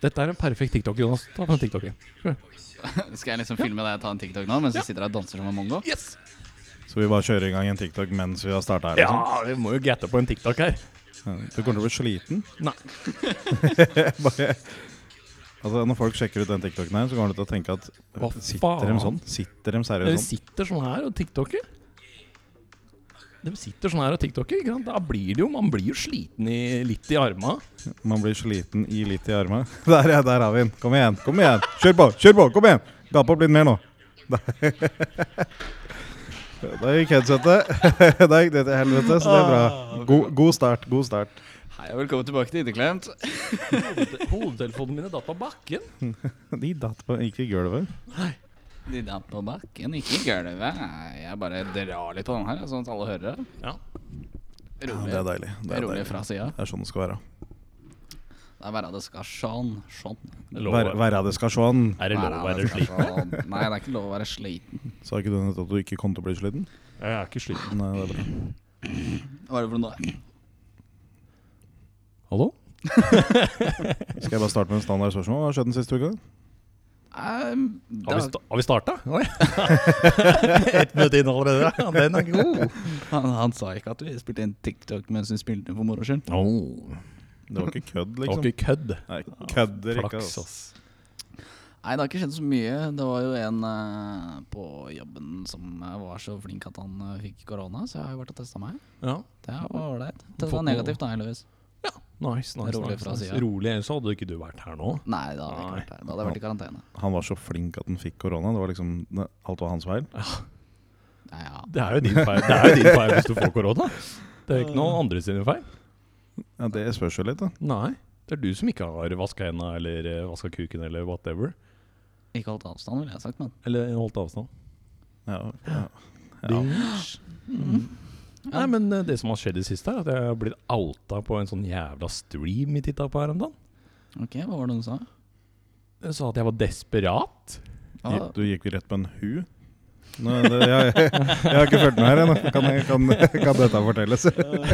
Dette er en perfekt TikTok, Jonas. Ta den TikToken. Skal jeg liksom filme deg og ta en TikTok nå mens du sitter der og danser som en mongo? Yes! Skal vi bare kjøre i gang en TikTok mens vi har starta her? liksom? Ja, vi må jo gatte på en TikTok her. Du kommer til å bli sliten. Nei. Bare Altså, Når folk sjekker ut den TikToken her, så kommer du til å tenke at Hva Sitter de faen? sånn? Sitter de Dere seriøst sånn? sitter sånn her og TikToker. De sitter sånn her og TikToker. Ikke sant? Da blir det jo, man blir jo sliten i, litt i arma. Man blir sliten i litt i arma. Der, ja, der har vi den. Kom igjen, kom igjen. Kjør på, kjør på, kom igjen! Gapa blir mer nå. Der. Der gikk headsetet. Der gikk det til helvete, så Ah, det er bra. God, god start, god start. Hei og velkommen tilbake til Inneklemt. Hodetelefonene mine datt på bakken. De datt på, gikk i gulvet. De der på bakken, ikke i gulvet. Jeg bare drar litt på den her, sånn at alle hører det. Ja. Ja, Rolig, det er deilig. Det er, rolig deilig. fra sida. det er sånn det skal være. Det er bare det skal sånn. Sånn. Være, være det skal sånn. er det lov å Nei, være det skal sliten? sånn. Nei, det er ikke lov å være sliten. Sa ikke du nettopp at du ikke kom til å bli sliten? Jeg er ikke sliten. Nei, det er bra. Hva er det for noe da? Hallo? Skal jeg bare starte med en standard spørsmål? Hva har skjedd den siste uka? Ehm, det Har vi, har- sta har vi starta? Ett minutt inn allerede. Ja, den er god. han, han sa ikke at vi spilte en TikTok mens vi spilte den for moro skyld. Det var ikke kødd, Det liksom. var ikke kødd. Nei, kødder ikke, Flaks, altså. ass. Nei, det har ikke skjedd så mye. Det var jo en eh, på jobben som eh, var så flink at han eh, fikk korona, så jeg har jo vært og testa meg. Ja. Det var ålreit. Det Fått var noe- negativt, da, heldigvis. Nice, nice, Rolig nice, fra nice. siden. Rolig, ellers hadde ikke du vært her nå. Nei, da hadde jeg ikke Nei. vært der. Da hadde jeg vært i karantene. Han var så flink at han fikk korona. Det var liksom, ne- Alt var hans feil. Nei, ja. Det er jo din feil, det er jo din feil hvis du får korona. Det er ikke noen andre sine feil. Ja, Det spørs jo litt, da. Eh. Nei. Det er du som ikke har vaska henda eller eh, vaska kuken eller whatever. Ikke holdt avstand, ville jeg sagt, men Eller holdt avstand. Ja, ja. Ja. Dings. Mm. Nei, men eh, det som har skjedd i det siste, er at jeg har blitt outa på en sånn jævla stream vi titta på her om dagen. OK, hva var det hun sa? Jeg sa at jeg var desperat. Ja, Du gikk jo rett på en hu. Nå, det, jeg, jeg, har ikke fulgt med her ennå. Kan, jeg- kan, kan dette fortelles? Jeg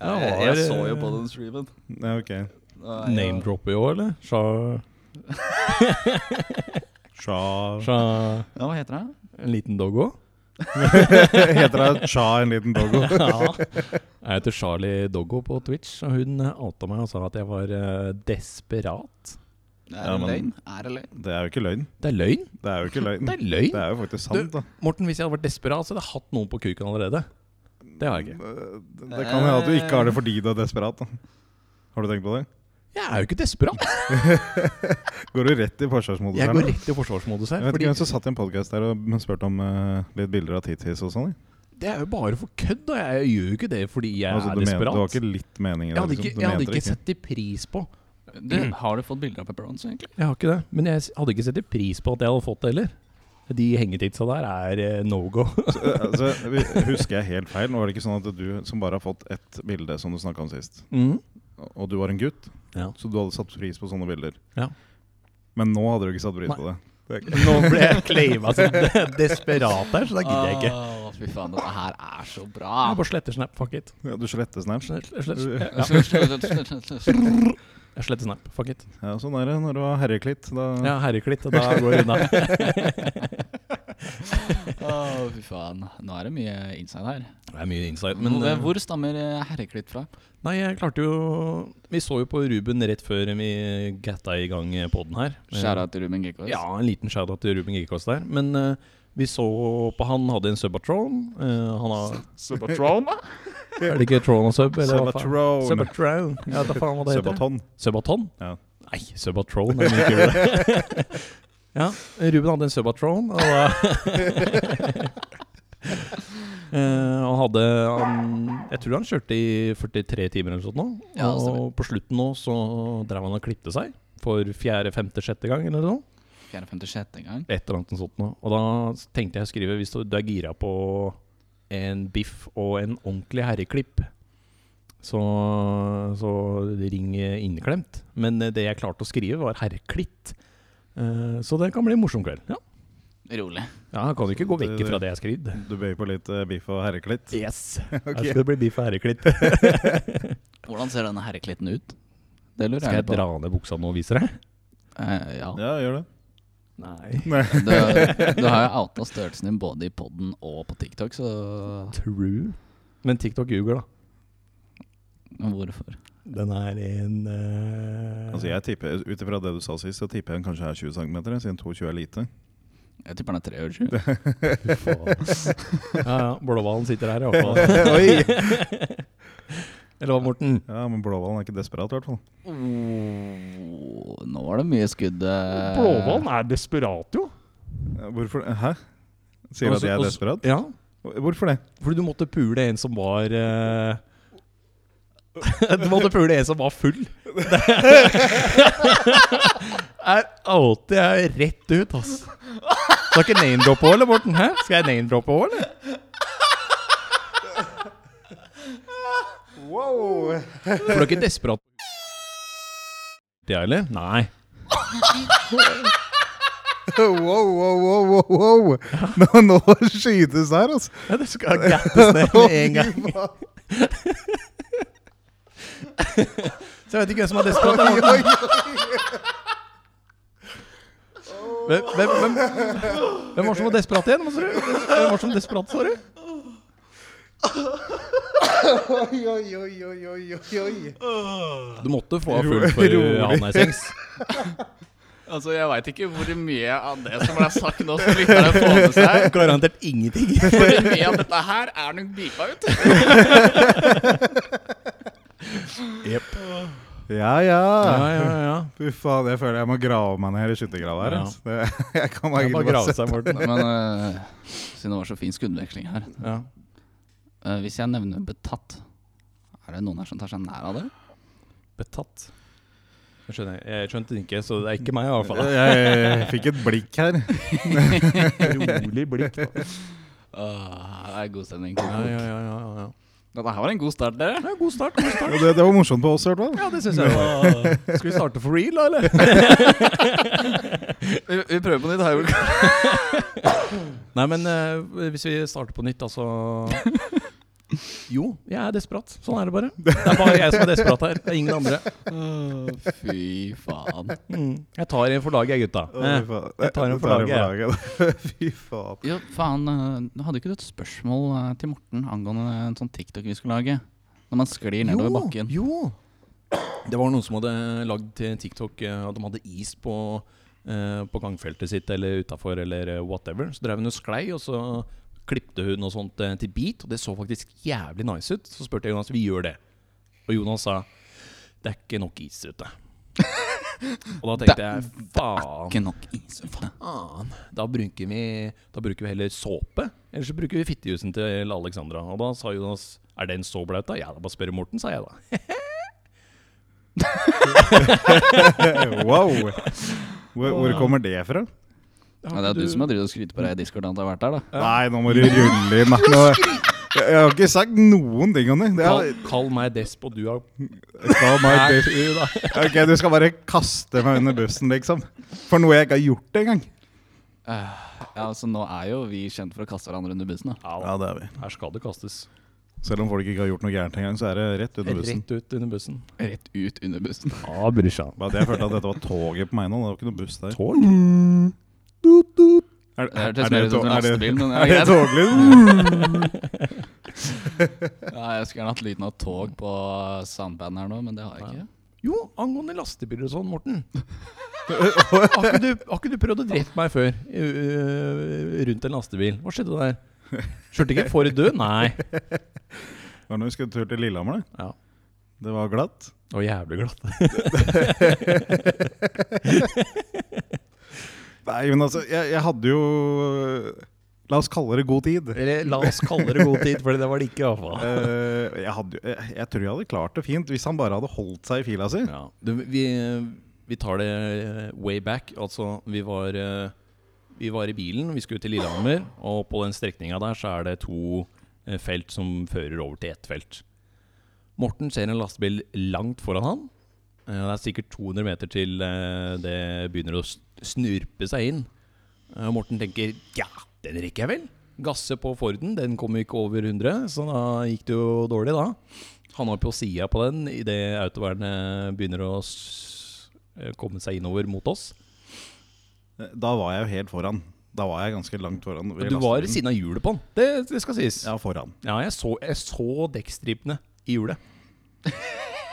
jeg, har, jeg så jo eh, på den streamen. Ja, ok. Da er jeg- Name-drop i år, eller? Sja, Cha sja Ja, hva heter det? En liten doggo? Heter det Cha en liten doggo? Ja. Jeg heter Charlie Doggo på Twitch, og hun eh, outa meg og sa at jeg var eh, desperat. Er Ja, det løgn? men- Er det løgn? Det er jo ikke løgn. Det er løgn. Det er jo ikke løgn. Det er løgn. Det er jo faktisk sant, da. Morten, hvis jeg hadde vært desperat, så hadde jeg hatt noen på kuken allerede. Det har jeg ikke. Eh, Det, det kan hende at du ikke har det fordi du er desperat. da Har du tenkt på det? Jeg er jo ikke desperat. Går du rett i forsvarsmodus? Jeg her går nå? rett i forsvarsmodus Jeg her. vet ikke Fordi hvem som satt i en podkast der og spurte om eh, litt bilder av Titis og sånn. jeg. det er jo bare for kødd, og jeg gjør jo ikke det fordi jeg Altså, er du, men, du har desperat. ikke litt mening i Jeg det? hadde liksom. ikke, Du jeg hadde mente det ikke sett i pris på. Du, har du fått bilder av pepperons, egentlig? Jeg har ikke det. Men jeg s- hadde ikke sett i pris på at jeg hadde fått det heller. De hengetitsa der er eh, no go. Så, eh, altså, vi- Husker jeg helt feil? Nå var det ikke sånn at du som bare har fått ett bilde, som du snakka om sist, og du var en gutt, Ja. så du hadde satt pris på sånne bilder. Ja. Men nå hadde du ikke satt pris på det. det er ikke- Nå ble jeg claima som desperat her, så da gidder jeg ikke. Å, fy faen, dette her er så Jeg bra. bare sletter Snap, fuck it. Ja, du sletter Snap. Slett, slett, ja. Ja. Jeg sletter Snap, fuck it. Ja, sånn er det når du har herreklitt. Da Ja, herreklitt, og da går det unna. Å, fy faen. Nå er det mye inside her. Det er mye insight, Men men eh, hvor stammer eh, herreklitt fra? Nei, jeg klarte jo Vi så jo på Ruben rett før vi gatta i gang poden her. Eh, Skjæra til Ruben Gekås? Ja, en liten shout-out til Ruben Gekås der. Men eh, vi så på han hadde en Subatron. Eh, han har Subatron, da? Er det ikke Tron og Sub? Eller hva faen? Subatron. Subatron. Ja, hva faen hva det heter. Subaton. Subaton? Ja. Nei, Subatron er mye kulere. ja, Ruben hadde en Subatron, og da Eh, og hadde han Jeg tror han kjørte i 43 timer eller noe sånt. nå. Ja, det og på slutten nå så drev han og klipte seg for fjerde, femte, sjette gang eller noe. 456 gang. Et eller annet sånt nå. Og da tenkte jeg å skrive hvis du du er gira på en biff og en ordentlig herreklipp, så, så ring eh, inneklemt. Men eh, det jeg klarte å skrive, var herreklitt. Eh, Så det kan bli en morsom kveld. Ja, Rolig. ja jeg kan jo ikke gå vekk fra det jeg har skrevet. Du bøyer på litt eh, biff og herreklitt. Yes. Her skal det bli biff og herreklitt. Hvordan ser denne herreklitten ut? Det lurer Skal jeg jeg på. dra ned buksa nå og vise deg? Eh, ja. Ja, gjør det. Nei. Du, du har jo outa størrelsen din både i poden og på TikTok, så True. Men TikTok ljuger, da. hvorfor? Den er en eh, Altså jeg tipper, Ut ifra det du sa sist, så tipper jeg den kanskje er 20 cm, siden 22 er lite. Jeg tipper han er 23. fy faen. Ja, ja. Blåhvalen sitter her, i hvert fall. Oi! Eller hva, Morten? Ja, men blåhvalen er ikke desperat, i hvert fall. Oh, nå var det mye skudd. eh. Blåhvalen er desperat, jo. Ja, Hvorfor Hæ? Sier du at jeg er Altså- desperat? Ja, Hvorfor det? fordi du måtte pule en som var eh, Du måtte pule en som var full. Det er alltid jeg er rett ut, ass. Skal ikke name-droppe òg, eller, Morten? Hæ? Skal jeg name-droppe òg, eller? Wow! For du er ikke desperat? Det, eller? Nei. Wow, wow, wow, wow, wow. Nå, nå skytes her, altså. Ja, det skal gattes ned med en gang. Så jeg vet ikke hvem som er desperat. da, Morten. Hvem, hvem, hvem, hvem var som var desperat igjen? hva sa du? Hvem var som desperat, sa du? Oi, oi, oi, oi, oi, oi. Du måtte få av full for, uh, han er sengs. Altså, Jeg veit ikke hvor mye av det som ble sagt nå, som lytterne får med seg. Garantert ingenting. For mye av dette her er nok beepa ut. Ja, ja. Ja, ja, ja. Fy faen, jeg føler jeg må grave meg ned i skyttergrava her. Ja. Altså. Det, jeg kan Det bare er bare å ikke bare grave sette seg, Morten. Men eh, siden det var så fin skuddveksling her Ja. eh, Hvis jeg nevner betatt, er det noen her som tar seg nær av det? Betatt. Jeg skjønner, jeg skjønte det ikke, så det er ikke meg i hvert fall. jeg, jeg fikk et blikk her. Rolig blikk. da. det er god stemning. Ja, ja, ja, ja, ja. Dette her var en god start, dere. Ja, god start, god Og start. det, det var morsomt på oss, i hvert fall. Ja, det syns jeg. var- Skal vi starte for real, da, eller? Vi, vi prøver på nytt. Her. vel. Nei, men eh, hvis vi starter på nytt, altså Jo, jeg er desperat. Sånn er det bare. Det er bare jeg som er desperat her. Det er ingen andre. Åh, Fy faen. Mm. Jeg tar en for laget, jeg, gutta. Å, Eh. fy faen. jeg tar en for laget, laget. Fy faen. Jo, faen. eh, Hadde ikke du et spørsmål eh, til Morten angående en sånn TikTok vi skulle lage? Når man sklir nedover bakken. Jo. Det var noen som hadde lagd til TikTok eh, at de hadde is på, eh, på gangfeltet sitt eller utafor eller eh, whatever. Så drev hun og sklei, og så klipte hun noe sånt eh, til bit, og det så faktisk jævlig nice ut. Så spurte jeg Jonas vi gjør det. Og Jonas sa det er ikke nok is ute. og da tenkte jeg faen. Ikke nok is. vet du. Faen. Da bruker vi Da bruker vi heller såpe. Eller så bruker vi fittejusen til Alexandra. Og da sa Jonas Er den så blaut, da? Ja, da bare spør Morten, sa jeg da. Wow. Hvor, hvor kommer det fra? Ja, det er du som har drevet og skrytt på deg i Discord at du har vært der, da. Nei, nå må du rulle inn. da. Nå, jeg, jeg har ikke sagt noen ting om det. det Kall, er, kall meg desp, og du har Call my Nei, best- du da. Ok, Du skal bare kaste meg under bussen, liksom. For noe jeg ikke har gjort engang. Ja, altså Nå er jo vi kjent for å kaste hverandre under bussen. da Ja, det er vi. her skal det kastes. Selv om folk ikke har gjort noe gærent engang, så er det rett under bussen. Rett ut under bussen. Rett ut under bussen. Ja, brorsan. Bare at jeg følte at dette var toget på meg nå. Det var ikke noe buss der. Tog? Er, Det hørtes mer ut som en er det- lastebil, men er det ja, greit. toglyd? Ja, jeg skulle gjerne hatt lyden av tog på soundbanden her nå, men det har jeg ikke. Jo, angående lastebiler og sånn, Morten. Har ikke, du, har ikke du prøvd å drepe meg før øh, rundt en lastebil? Hva skjedde der? Kjørte ikke for død? Nei. Det var når vi skulle tur til Lillehammer, det. Ja. Det var glatt. Det var jævlig glatt. Nei, men altså, jeg, jeg hadde jo La oss kalle det god tid. Eller la oss kalle det god tid, for det var det ikke, iallfall. Eh, jeg, hadde, jo- jeg, jeg tror jeg hadde klart det fint hvis han bare hadde holdt seg i fila si. Ja. Du, vi, vi tar det eh, way back. Altså, vi var, eh, vi var i bilen, vi skulle til Lillehammer, og på den strekninga der så er det to eh, felt som fører over til ett felt. Morten ser en lastebil langt foran han. Eh, Det er sikkert 200 meter til eh, det begynner å s- snurpe seg inn. Eh, Morten tenker 'ja, den rekker jeg vel'. Gasse på Forden, den kom ikke over 100, så da gikk det jo dårlig da. Han var på sida på den idet autovernet begynner å s- eh, komme seg innover mot oss. Da var jeg jo helt foran. Da var jeg ganske langt foran. ved Du var ved lastebilen. siden av hjulet på den, det, det skal sies. Ja, foran. Ja, jeg så, jeg så dekkstripene i hjulet.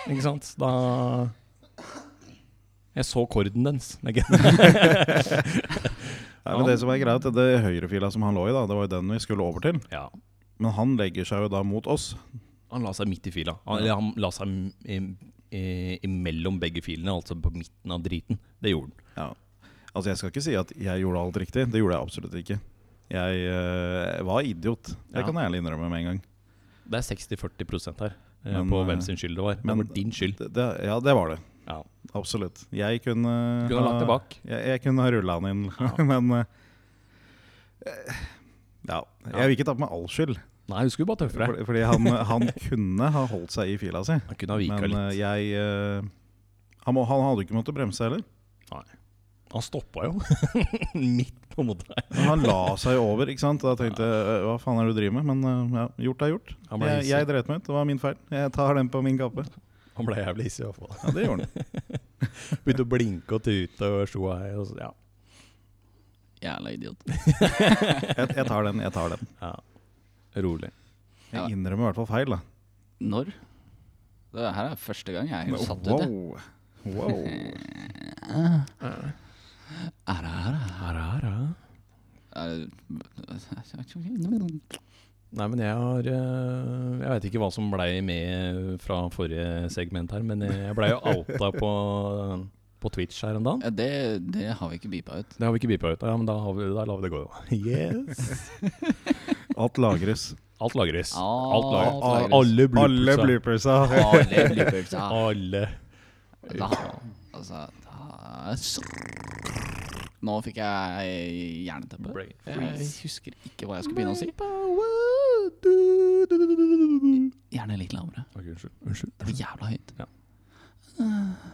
ikke sant? Da Jeg så korden dens. Det er ikke- Ja, men det som er greit, det er høyrefila som han lå i, da, det var jo den vi skulle over til. Ja. Men han legger seg jo da mot oss. Han la seg midt i fila. Han, eller han la seg im- i- imellom begge filene, altså på midten av driten. Det gjorde han. Ja. Altså, jeg skal ikke si at jeg gjorde alt riktig. Det gjorde jeg absolutt ikke. Jeg eh, var idiot. Det Ja. kan jeg ærlig innrømme med en gang. Det er 60-40 her eh, Men, på eh, hvem sin skyld det var. men- det var din skyld. Det, det, ja, det var det. Ja. Absolutt. Jeg kunne Du kunne ha lagt det bak. Jeg, jeg kunne ha rulla han inn, men eh, eh, ja. Jeg vil ikke ta på meg all skyld, Nei, du skulle bare tøffe deg. fordi, fordi han, han kunne ha holdt seg i fila si. Han kunne ha vika Men litt. eh, jeg eh, han, må, han hadde ikke måttet bremse heller. Han stoppa jo midt på motorveien. Men Han la seg jo over, ikke sant. Da tenkte jeg eh, hva faen er det du driver med? Men eh, ja, gjort er gjort. Han ble Jeg, hissig. jeg dreit meg ut. Det var min feil. Jeg tar den på min kappe. Han ble jævlig hissig, i hvert fall. Ja, det gjorde han. Begynte å blinke og tute og sjo og hei. og så- Ja. Jævla idiot. Jeg, jeg tar den. Jeg tar den. ja. Rolig. Ja. Jeg innrømmer i hvert fall feil, da. Når? Det her er første gang jeg er helt satt ut, jeg. Eh. Wow. wow. Æra, æra, æra, æra. Er- Nei, men jeg har eh, Jeg veit ikke hva som blei med fra forrige segment her, men jeg blei jo outa på, på Twitch her en dag. Ja, det, det har vi ikke beepa ut. Det har vi ikke beepa ut, ja, men da, har vi, da lar vi det gå. Yes. Alt lagres. Alt lagres. Ah, Alt lagres. lagres. Alle bloopersa. bloopersa. Alle bloopers, ja. Alle. Da, altså, da Nå fikk jeg jerneteppe. Brain Jeg husker ikke hva jeg skulle begynne å si. Gjerne litt lavere. Ok, unnskyld. unnskyld. Det var jævla høyt. Ja. Eh,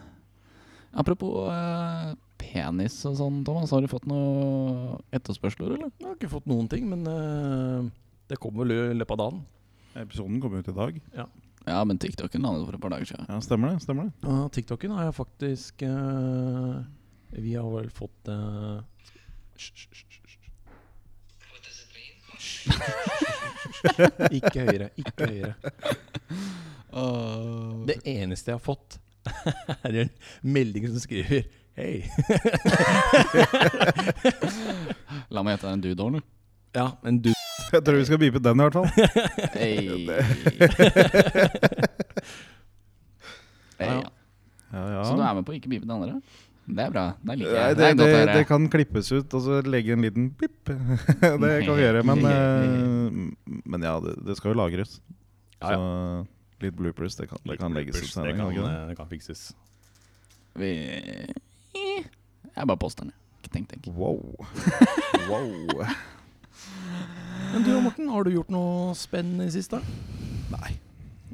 apropos eh, penis og sånn, Thomas. Har du fått noe etterspørsler, eller? Jeg har ikke fått noen ting, men eh, det kommer vel i løpet av dagen. Episoden kom ut i dag. Ja, men TikToken landet for et par dager siden. Ja, Stemmer det? stemmer det Ja, TikToken har jeg faktisk eh, Vi har vel fått eh, Ikke høyere, ikke høyere. Det eneste jeg har fått, er en melding som skriver Hei. La meg gjette, det er en dude, eller? Ja, men du Jeg tror vi skal bipe den, i hvert fall. Hey. Ja, ja. ja. Ja, ja. Så du er med på å ikke bipe den andre? Det er bra. Det liker Nei, jeg. det, er det, godt å høre. det kan klippes ut, og så legge en liten pip. det kan vi gjøre, men, eh, men ja, det, det skal jo lagres. Ja, ja. Så litt bloopers, det kan, det kan legges ut Det senere. kan, kan det ikke det? eh, det kan fikses. Vi Jeg bare poster den. jeg. Tenk, tenk. Wow. wow. Men du Morten, har du gjort noe spennende i siste? Nei,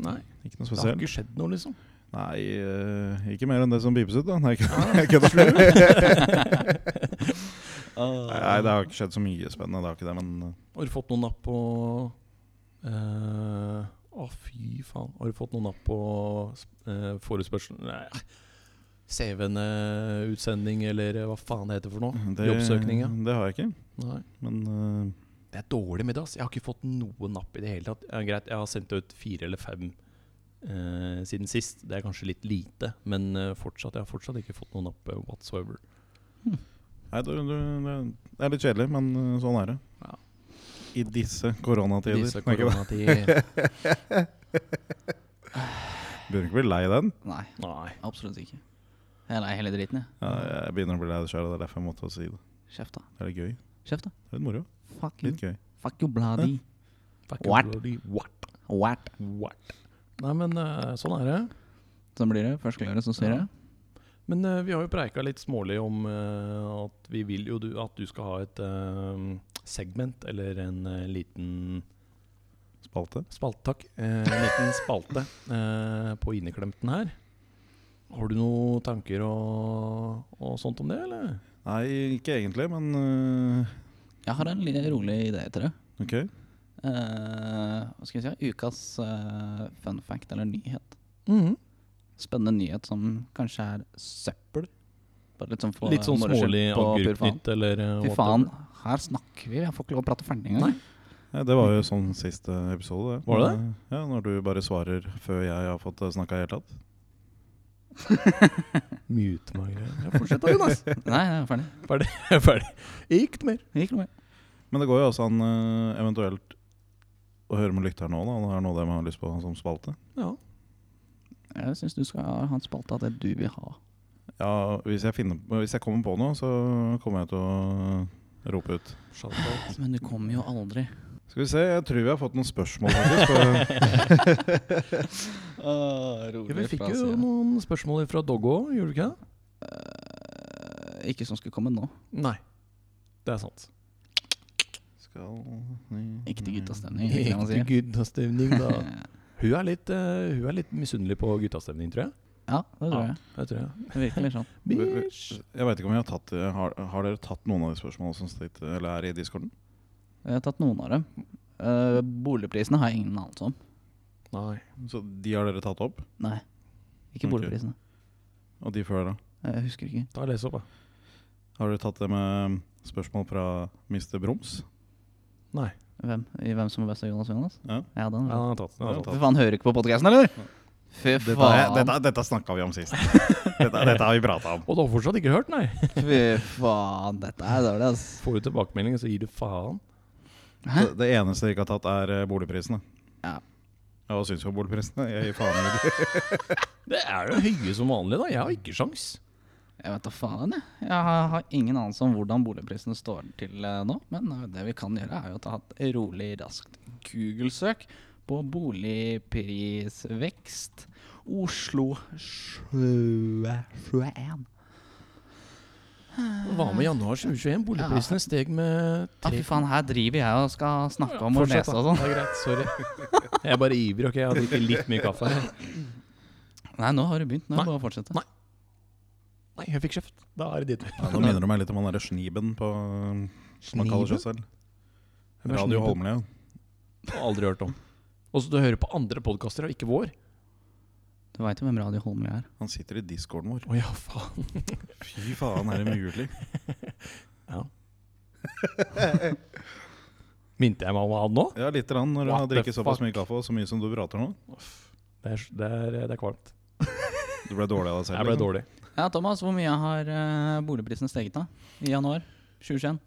Nei. ikke noe Det har spesielt. ikke skjedd noe, liksom. Nei, eh, ikke mer enn det som pipes ut, da. Nei, ikke, Nei, det har ikke skjedd så mye spennende. Det har ikke det, men Har du fått noen napp på eh, Å, fy faen. Har du fått noen napp på uh, forespørselen Nei. CV-ene, utsending eller eh, hva faen det heter for noe? det, Jobbsøkning, ja. eh, det har jeg ikke. Nei. Men eh, Det er dårlig med det. ass. Jeg har ikke fått noe napp i det hele tatt. Ja, greit, jeg har sendt ut fire eller fem eh, siden sist. Det er kanskje litt lite, men eh, fortsatt, jeg har fortsatt ikke fått noen napp eh, whatsoever. Nei, du, du, det- det er litt kjedelig, men eh, sånn er det. Ja. I disse koronatider. Disse Nei, ikke det. koronatider. Begynner ikke å bli lei den. Nei, Nei. absolutt ikke. Jeg er lei hele driten, jeg. Ja, jeg begynner å bli lei det sjøl, det er derfor jeg måtte si det. Kjeft, da. Det er litt gøy. Kjeft, da. Det er litt moro. Mm. Fuck you. Litt gøy. Fuck you, bloody. Fuck What? bloody What? What? What? Nei, men eh, sånn er det. Sånn blir det. Først klare, så styrer Ja. jeg. Men eh, vi har jo preika litt smålig om eh, at vi vil jo du, at du skal ha et eh, segment, eller en eh, liten Spalte. spalte, takk. Eh, en liten spalte eh, på inneklemten her. Har du noen tanker og, og sånt om det, eller? Nei, ikke egentlig, men eh, Jeg har en li- rolig idé til deg. Ok. Eh, hva skal jeg si? Ukas eh, fun fact eller nyhet. Mhm. Spennende nyhet som kanskje er søppel. Bare litt sånn, for- Litt sånn moro skyld smålig på pur faen. agurknytt eller eh, Fy whatever. faen, her snakker vi. Jeg får ikke lov å prate ferdig engang. Nei, det var jo sånn siste episode. Eh, Var det det? Ja, Når du bare svarer før jeg har fått snakka i det hele tatt. Mute meg. greier. Ja, Fortsett da, Jonas. Nei, jeg er ferdig. Jeg er ferdig. Ikke mer. Det gikk noe mer. Men det går jo også an eh, eventuelt å høre med lytterne òg, da. Om det er noe de har lyst på som spalte. Ja. Jeg syns du skal ha en spalte av det du vil ha. Ja, hvis jeg, finner, hvis jeg kommer på noe, så kommer jeg til å rope ut. Men du kommer jo aldri. Skal vi se, jeg tror vi har fått noen spørsmål faktisk. på- Ja, vi fikk jo noen spørsmål fra Doggo òg, gjorde vi ikke det? Eh, Ikke som skulle komme nå. Nei. Det er sant. Skal Ikke til guttastemning. Mm. ikke det man Ekte sier. guttastemning, da. Hun er litt, eh, hun er litt misunnelig på guttastemning, tror jeg. Ja, det tror jeg. Det tror jeg. Det virker litt sånn. Bitch. Jeg veit ikke om jeg har tatt har, har dere tatt noen av de spørsmålene som sitter, eller er i discorden? Jeg har tatt noen av dem. Eh, boligprisene har jeg ingen anelse om. Nei. Så de har dere tatt opp? Nei. Ikke Ok. boligprisene. Og de før, da? Jeg husker ikke. Da les opp, da. Har dere tatt det med spørsmål fra Mr. Broms? Nei. Hvem, i hvem som er best av Jonas og Jonas? Ja. Ja, den. Ja, Mm. Ja. han har tatt. den, Han har tatt. Fy faen, hører du ikke på podkasten, eller? Fy Dette, faen. dette, dette snakka vi om sist. Dette, dette har vi prata om. Og du har fortsatt ikke hørt, nei? Fy faen, dette er dårlig, ass. Får du tilbakemeldinger, så gir du faen. Hæ? Det, det eneste dere ikke har tatt, er eh, boligprisene. Ja. Ja, Hva syns du om boligprisene? Jeg gir faen i det. Det er jo høye som vanlig, da. Jeg har ikke sjans. Jeg vet da faen, jeg. Jeg har, har ingen anelse om hvordan boligprisene står til eh, nå. Men eh, det vi kan gjøre, er jo å ta et rolig, raskt Google-søk på boligprisvekst Oslo 2021. Hva med januar 2021? Boligprisene steg med Ja, fy faen, her driver jeg og skal snakke om å Fortsett, lese da. og sånn. Det er greit, sorry. Jeg er bare ivrig, ok? Jeg har drukket litt mye kaffe. her. Nei, nå har du begynt. Nå er Nei. det bare å fortsette. Nei. Nei, jeg fikk kjeft. Da er det ditt tur. Ja, da minner du meg litt om han derre Schniben på som han kaller seg selv. Hvem er Radio Schnieben? Holmlia. Har aldri hørt om. Og så du hører på andre podkaster, ikke vår. Du veit jo hvem Radio Holmlia er. Han sitter i discorden vår. Å ja, faen. Fy faen, er det mulig? Ja. Minte jeg meg om hva han nå? Ja, lite grann når du What har the drikket såpass fuck? mye kaffe og så mye som du prater nå. Det er, det er, det er kvalmt. Du ble dårlig av deg selv. Jeg ble liksom. dårlig. Ja, Thomas, hvor mye har eh, boligprisene steget da? I januar 2021?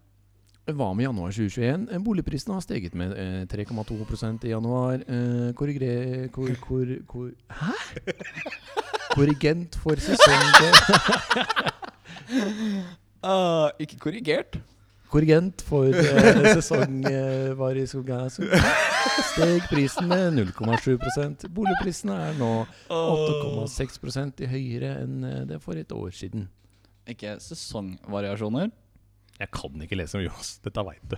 Hva med januar 2021? Eh, Boligprisene har steget med eh, 3,2 i januar. Eh, Korrigre... Kor, kor, kor, hæ? Korrigent for sesong Ah, ikke korrigert. Korrigent for eh, sesong eh, var i Skogasu. Steg prisen med 0,7 Boligprisene er nå 8,6 i høyere enn eh, det for et år siden. Ikke sesongvariasjoner. Jeg kan ikke lese om Jonas, dette veit du.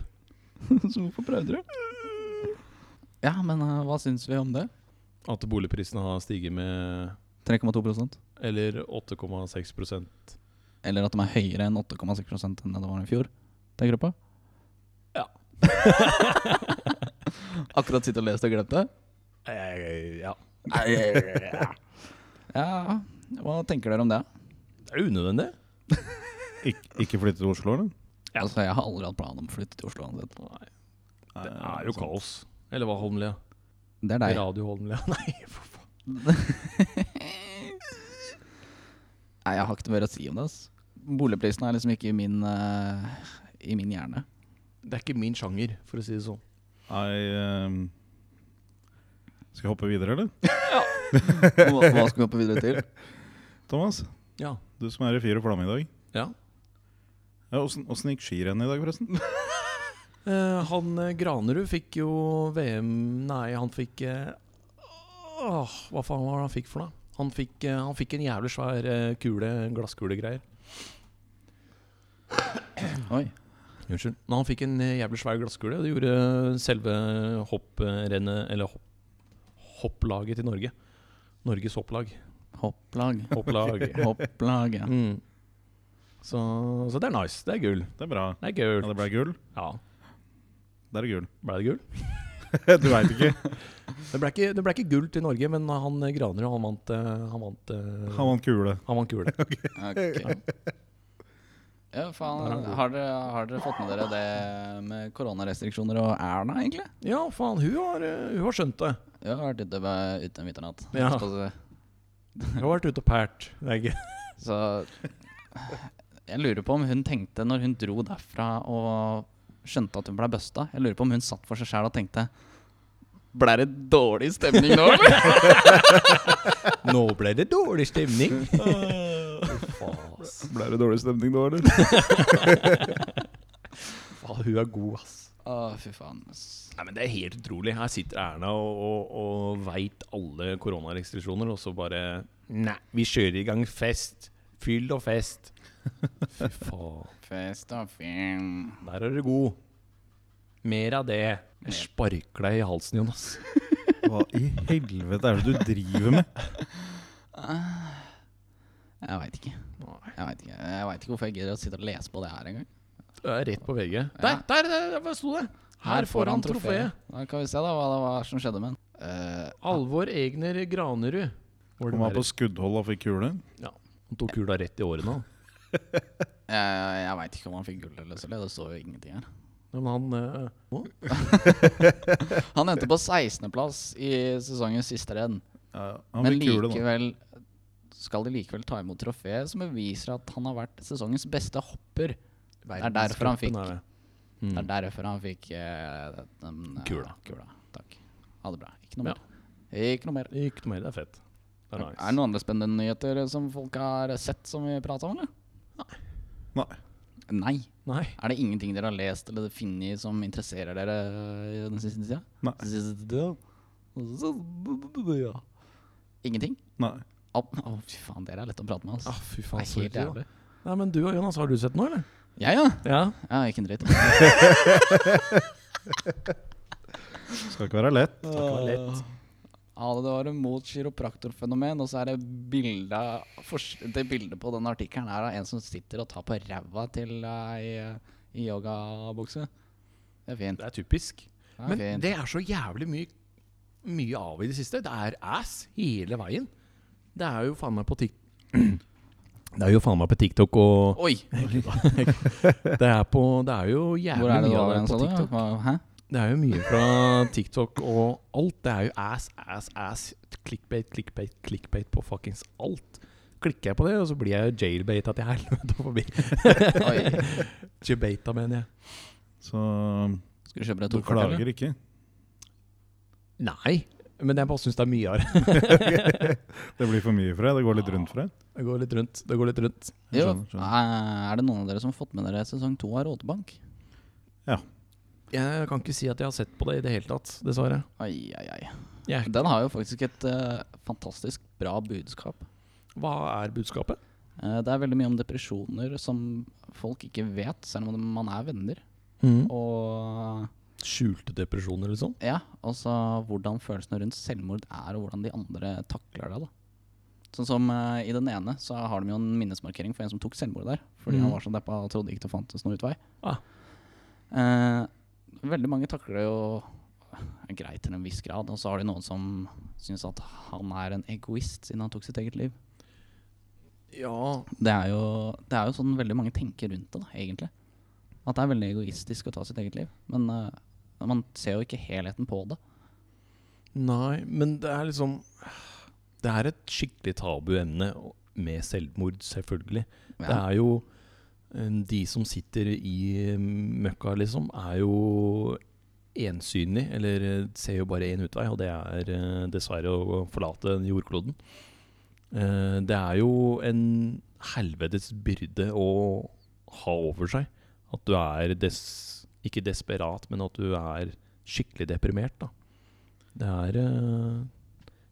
Så hvorfor prøvde du? Ja, men eh, hva syns vi om det? At boligprisene har stiget med 3,2 Eller 8,6 Eller at de er høyere enn 8,6 enn det det var i fjor? Tenker du på? Ja. Akkurat sittet og lest og glemt det? Eh, Ja. Ja, hva tenker dere om det? Det er unødvendig. Ik ikke flytte til Oslo, eller? Altså, jeg har aldri hatt plan om å flytte til Oslo uansett. Nei, det er jo kaos. Eller hva, Holmlia? Det er deg. Radio Holmlia? Nei, for faen. Nei, jeg har ikke noe mer å si om det. ass. Boligprisene er liksom ikke i min, eh, i min hjerne. Det er ikke min sjanger, for å si det sånn. Nei ehm, Skal jeg hoppe videre, eller? Hva, hva skal vi hoppe videre til? Thomas, Ja. du som er i fyr og flamme i dag. ja. Ja, Åssen åssen gikk skirennet i dag, forresten? Eh, han eh, Granerud fikk jo VM Nei, han fikk eh, åh, Hva faen var det han fikk for noe? Han fikk, eh, han fikk en jævlig svær eh, kule, glasskulegreier. Oi. Unnskyld. Men han fikk en eh, jævlig svær glasskule. Det gjorde selve hopprennet, eller hopp, hopplaget til Norge. Norges hopplag. Hopplag. Hopplag. Hopplag, ja. Mm. Så, så det er nice. Det er gull. Det er bra. Det er Ja, gull. det ble gull. Ja. Der er gul. Ble det gull? du veit ikke. Det ble, ikke, det ble ikke gull til Norge, men han eh, Granerud, han vant eh, Han vant, eh, Han vant kule. han vant kule. Ok. Ja, faen. Har dere, har dere fått med dere det med koronarestriksjoner og Erna, egentlig? Ja, faen, hun har, eh, hun har skjønt det. Vi har vært ute med- ute en vinternatt. Ja. Skal vi si. Hun har vært ute og pært. Det er ikke Så jeg lurer på om hun tenkte, når hun dro derfra og skjønte at hun ble busta Jeg lurer på om hun satt for seg sjæl og tenkte Ble det dårlig stemning nå, eller? Nå ble det dårlig stemning. Ble det dårlig stemning da, eller? Faen, hun er god, ass. Å, fy faen. ass. Nei, men Det er helt utrolig. Her sitter Erna og, og, og veit alle koronarestriksjoner, og så bare Nei, vi kjører i gang fest. Fyll og fest. Fy faen. Fest og film. Der er du god. Mer av det. Jeg sparker deg i halsen, Jonas. Hva i helvete er det du driver med? Jeg veit ikke. Jeg vet ikke. Jeg vet ikke hvorfor jeg gidder å sitte og lese på det her engang. Det er rett på VG. Der, der, der, der, der sto det! Her får han trofeet. Da kan vi se da hva det var som skjedde med den. Eh, Alvor Egner Granerud. Hvor Han var på skuddhold og fikk kule. ja. Han tok kula rett i årene. han. jeg jeg veit ikke om han fikk gull eller sølv. Det står jo ingenting her. Ja, Men han eh, hva? Han endte på 16.-plass i sesongens siste renn. Ja, han Men fikk kule, da. likevel skal de likevel ta imot trofeet som beviser at han har vært sesongens beste hopper. Det er derfor han fikk Verdenscupen er det. Mm. Det er derfor han fikk eh, den, eh, Kula. kula. Takk. Ha det bra. Ikke noe Ja. mer. Ikke noe mer. Ikke noe mer. Det er fett. Det er Er det nice. noen andre spennende nyheter som folk har sett som vi prata om, eller? Nei. Nei. Nei. Er det ingenting dere har lest eller funnet som interesserer dere eh, i den siste tida? Nei. Siste tida? Ingenting? Nei. Å, å, fy faen, dere er lett å prate med, altså. Ah, fy Det faen, er så helt jævlig. jævlig. Nei, men du og Jonas, har du sett noe, eller? Jeg, ja? Ja. Ja, ikke en dritt. Skal ikke være lett. Det var ikke lett. Ja, det var en mot kiropraktorfenomen, og så er det bilde fors- Det bildet på den artikkelen er av en som sitter og tar på ræva til ei eh, i yogabukse. Det er fint. Det er typisk. Det er Men fint. det er så jævlig mye Mye av i det siste. Det er ass hele veien. Det er jo faen meg på TikTok Det er jo faen meg på TikTok og Oi! Det er, på, det er jo Hvor jævlig er det du mye av var det på igjen, sa du? TikTok. Hva- Hæ? Det er jo mye fra TikTok og alt. Det er jo ass, ass, ass. Clickbait, clickbait, clickbait på fuckings alt. Klikker jeg på det, og så blir jeg jo jailbaita til helvete forbi. Oi. Jailbaita, mener jeg. Så Skal du kjøpe deg du to kort, eller? klager ikke. Nei, men jeg bare syns det er mye av det. Det blir for mye for deg. Det går litt rundt for deg. Det går litt rundt. Det går litt rundt. Jeg Jo. Eh, skjønner, Er det noen av dere som har fått med dere sesong to av Rådebank? Jeg kan ikke si at jeg har sett på det i det hele tatt, dessverre. Ai, ai, ai. Jeg, Den har jo faktisk et eh, fantastisk bra budskap. hva er budskapet? Eh, det er veldig mye om depresjoner som folk ikke vet, selv om man er venner. Mm. Og Skjulte depresjoner, liksom? ja, altså hvordan følelsene rundt selvmord er, og hvordan de andre takler det. da Sånn som eh, I den ene så har de jo en minnesmarkering for en som tok selvmord der. Fordi Mhm. han var så deppa og trodde ikke det fantes noen utvei. Ah. Eh, veldig mange takler det jo eh, greit til en viss grad. Og så har de noen som syns at han er en egoist siden han tok sitt eget liv. Ja, Det er jo, det er jo sånn veldig mange tenker rundt det, da, egentlig. At det er veldig egoistisk å ta sitt eget liv. Men eh, man ser jo ikke helheten på det. Nei, men det er liksom Det er et skikkelig tabuemne og- med selvmord, selvfølgelig. Det Ja. er jo eh, De som sitter i eh, møkka, liksom, er jo ensynig, eller eh, ser jo bare én utvei, og det er eh, dessverre å forlate jordkloden. Eh, Det er jo en helvetes byrde å ha over seg. At du er des, ikke desperat, men at du er skikkelig deprimert, da. Det er eh,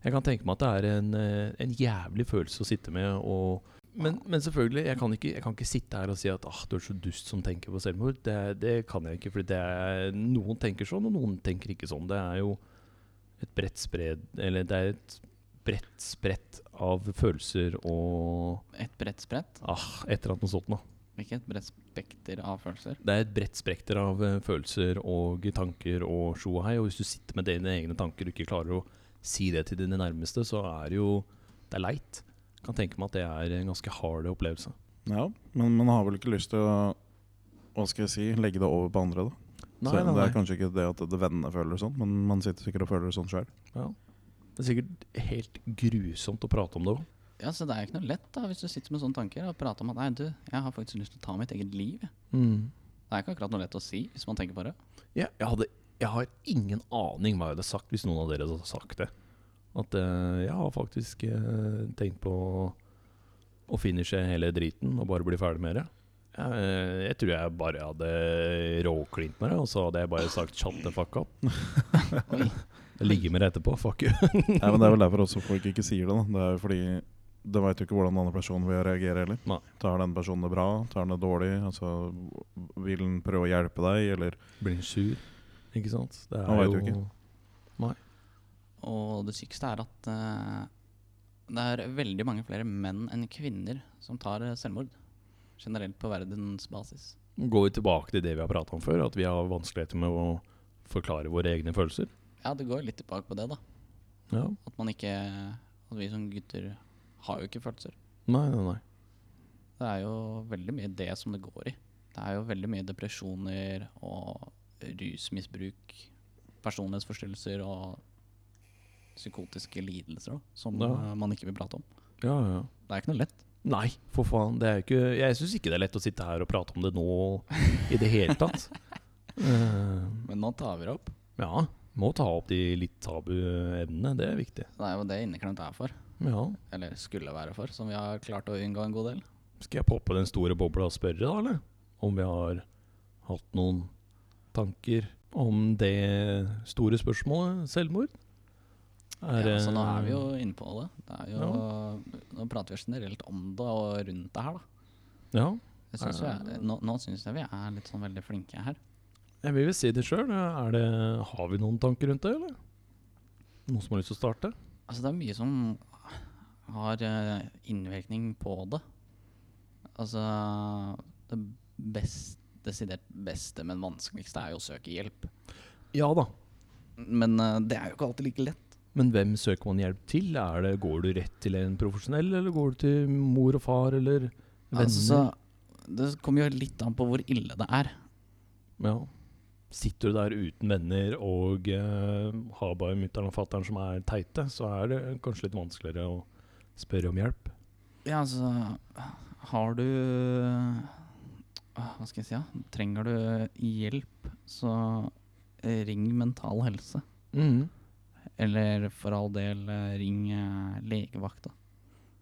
Jeg kan tenke meg at det er en, eh, en jævlig følelse å sitte med. Og, men, men selvfølgelig, jeg kan, ikke, jeg kan ikke sitte her og si at ah, du er så dust som tenker på selvmord. Det, det kan jeg ikke. For det er, noen tenker sånn, og noen tenker ikke sånn. Det er jo et bredt spred Eller det er et bredt spredt av følelser og Et bredt sprett. ah, et eller annet noe sånt noe. Ikke et bredt spekter av følelser. Det er et bredt spekter av eh, følelser og tanker og sjo og hei. Og hvis du sitter med dine egne tanker og ikke klarer å si det til dine nærmeste, så er det jo Det er leit. Jeg kan tenke meg at det er en ganske hard opplevelse. Ja, men man har vel ikke lyst til å hva skal jeg si, legge det over på andre, da. Nei, Selv om nei, det er nei. kanskje ikke det at det vennene føler sånn, men man sitter sikkert og føler det sånn sjøl. Ja. Det er sikkert helt grusomt å prate om det òg. Ja, så Det er jo ikke noe lett da, hvis du sitter med sånne tanker og prater om at nei, du, jeg har faktisk lyst til å ta mitt eget liv. jeg». Mm. Det er ikke akkurat noe lett å si hvis man tenker på det. Ja, jeg, hadde, jeg har ingen aning hva jeg hadde sagt hvis noen av dere hadde sagt det. At eh, jeg har faktisk eh, tenkt på å, å finishe hele driten og bare bli ferdig med det. Jeg, eh, jeg tror jeg bare hadde råklint med det, og så hadde jeg bare sagt 'shut the fuck up'. Oi. Ligge med det etterpå, fuck you. Nei, men Det er vel derfor også folk ikke sier det. da. Det er jo fordi de veit jo ikke hvordan den andre personen vil reagere heller. Nei. Tar den personen det bra? Tar den det dårlig? Altså, Vil den prøve å hjelpe deg, eller Blir en sur, ikke sant? Det Han vet jo ikke. Og det sykeste er at eh, det er veldig mange flere menn enn kvinner som tar eh, selvmord. Generelt på verdensbasis. Går vi tilbake til det vi har prata om før, at vi har vanskeligheter med å forklare våre egne følelser? Ja, det går litt tilbake på det, da. Ja. At man ikke At vi som gutter har jo ikke følelser. Nei, nei, nei. Det er jo veldig mye det som det går i. Det er jo veldig mye depresjoner og rusmisbruk, personlighetsforstyrrelser og psykotiske lidelser da, som Ja. eh, man ikke vil prate om. Ja, ja, ja. Det er ikke noe lett. Nei, for faen. Det er jo ikke, jeg syns ikke det er lett å sitte her og prate om det nå i det hele tatt. Eh, Men nå tar vi det opp. ja, må ta opp de litt tabu emnene. Det er viktig. Det er jo det inneklemt er for. Ja. Eller skulle være for, som vi har klart å unngå en god del. Skal jeg poppe den store bobla og spørre, da, eller? Om vi har hatt noen tanker om det store spørsmålet selvmord? Er, ja, så nå eh, er vi jo inne på det. det er jo, Nå prater vi generelt om det og rundt det her, da. Ja. Jeg synes vi er, nå nå syns jeg vi er litt sånn veldig flinke her. Jeg vil vel si det sjøl. Har vi noen tanker rundt det, eller? Noen som har lyst til å starte? Altså det er mye som har eh, innvirkning på det. Altså det best, desidert beste, men vanskeligste er jo å søke hjelp. Ja da. Men eh, det er jo ikke alltid like lett. Men hvem søker man hjelp til? Er det, går du rett til en profesjonell, eller går du til mor og far, eller venner? Altså, så, det kommer jo litt an på hvor ille det er. ja. Sitter du der uten venner og eh, har bare mutter'n og fatter'n som er teite, så er det kanskje litt vanskeligere å spørre om hjelp. Ja, altså Har du ah, Hva skal jeg si? Ja? Trenger du hjelp, så eh, ring Mental Helse. Mm. Eller for all del, eh, ring eh, legevakta.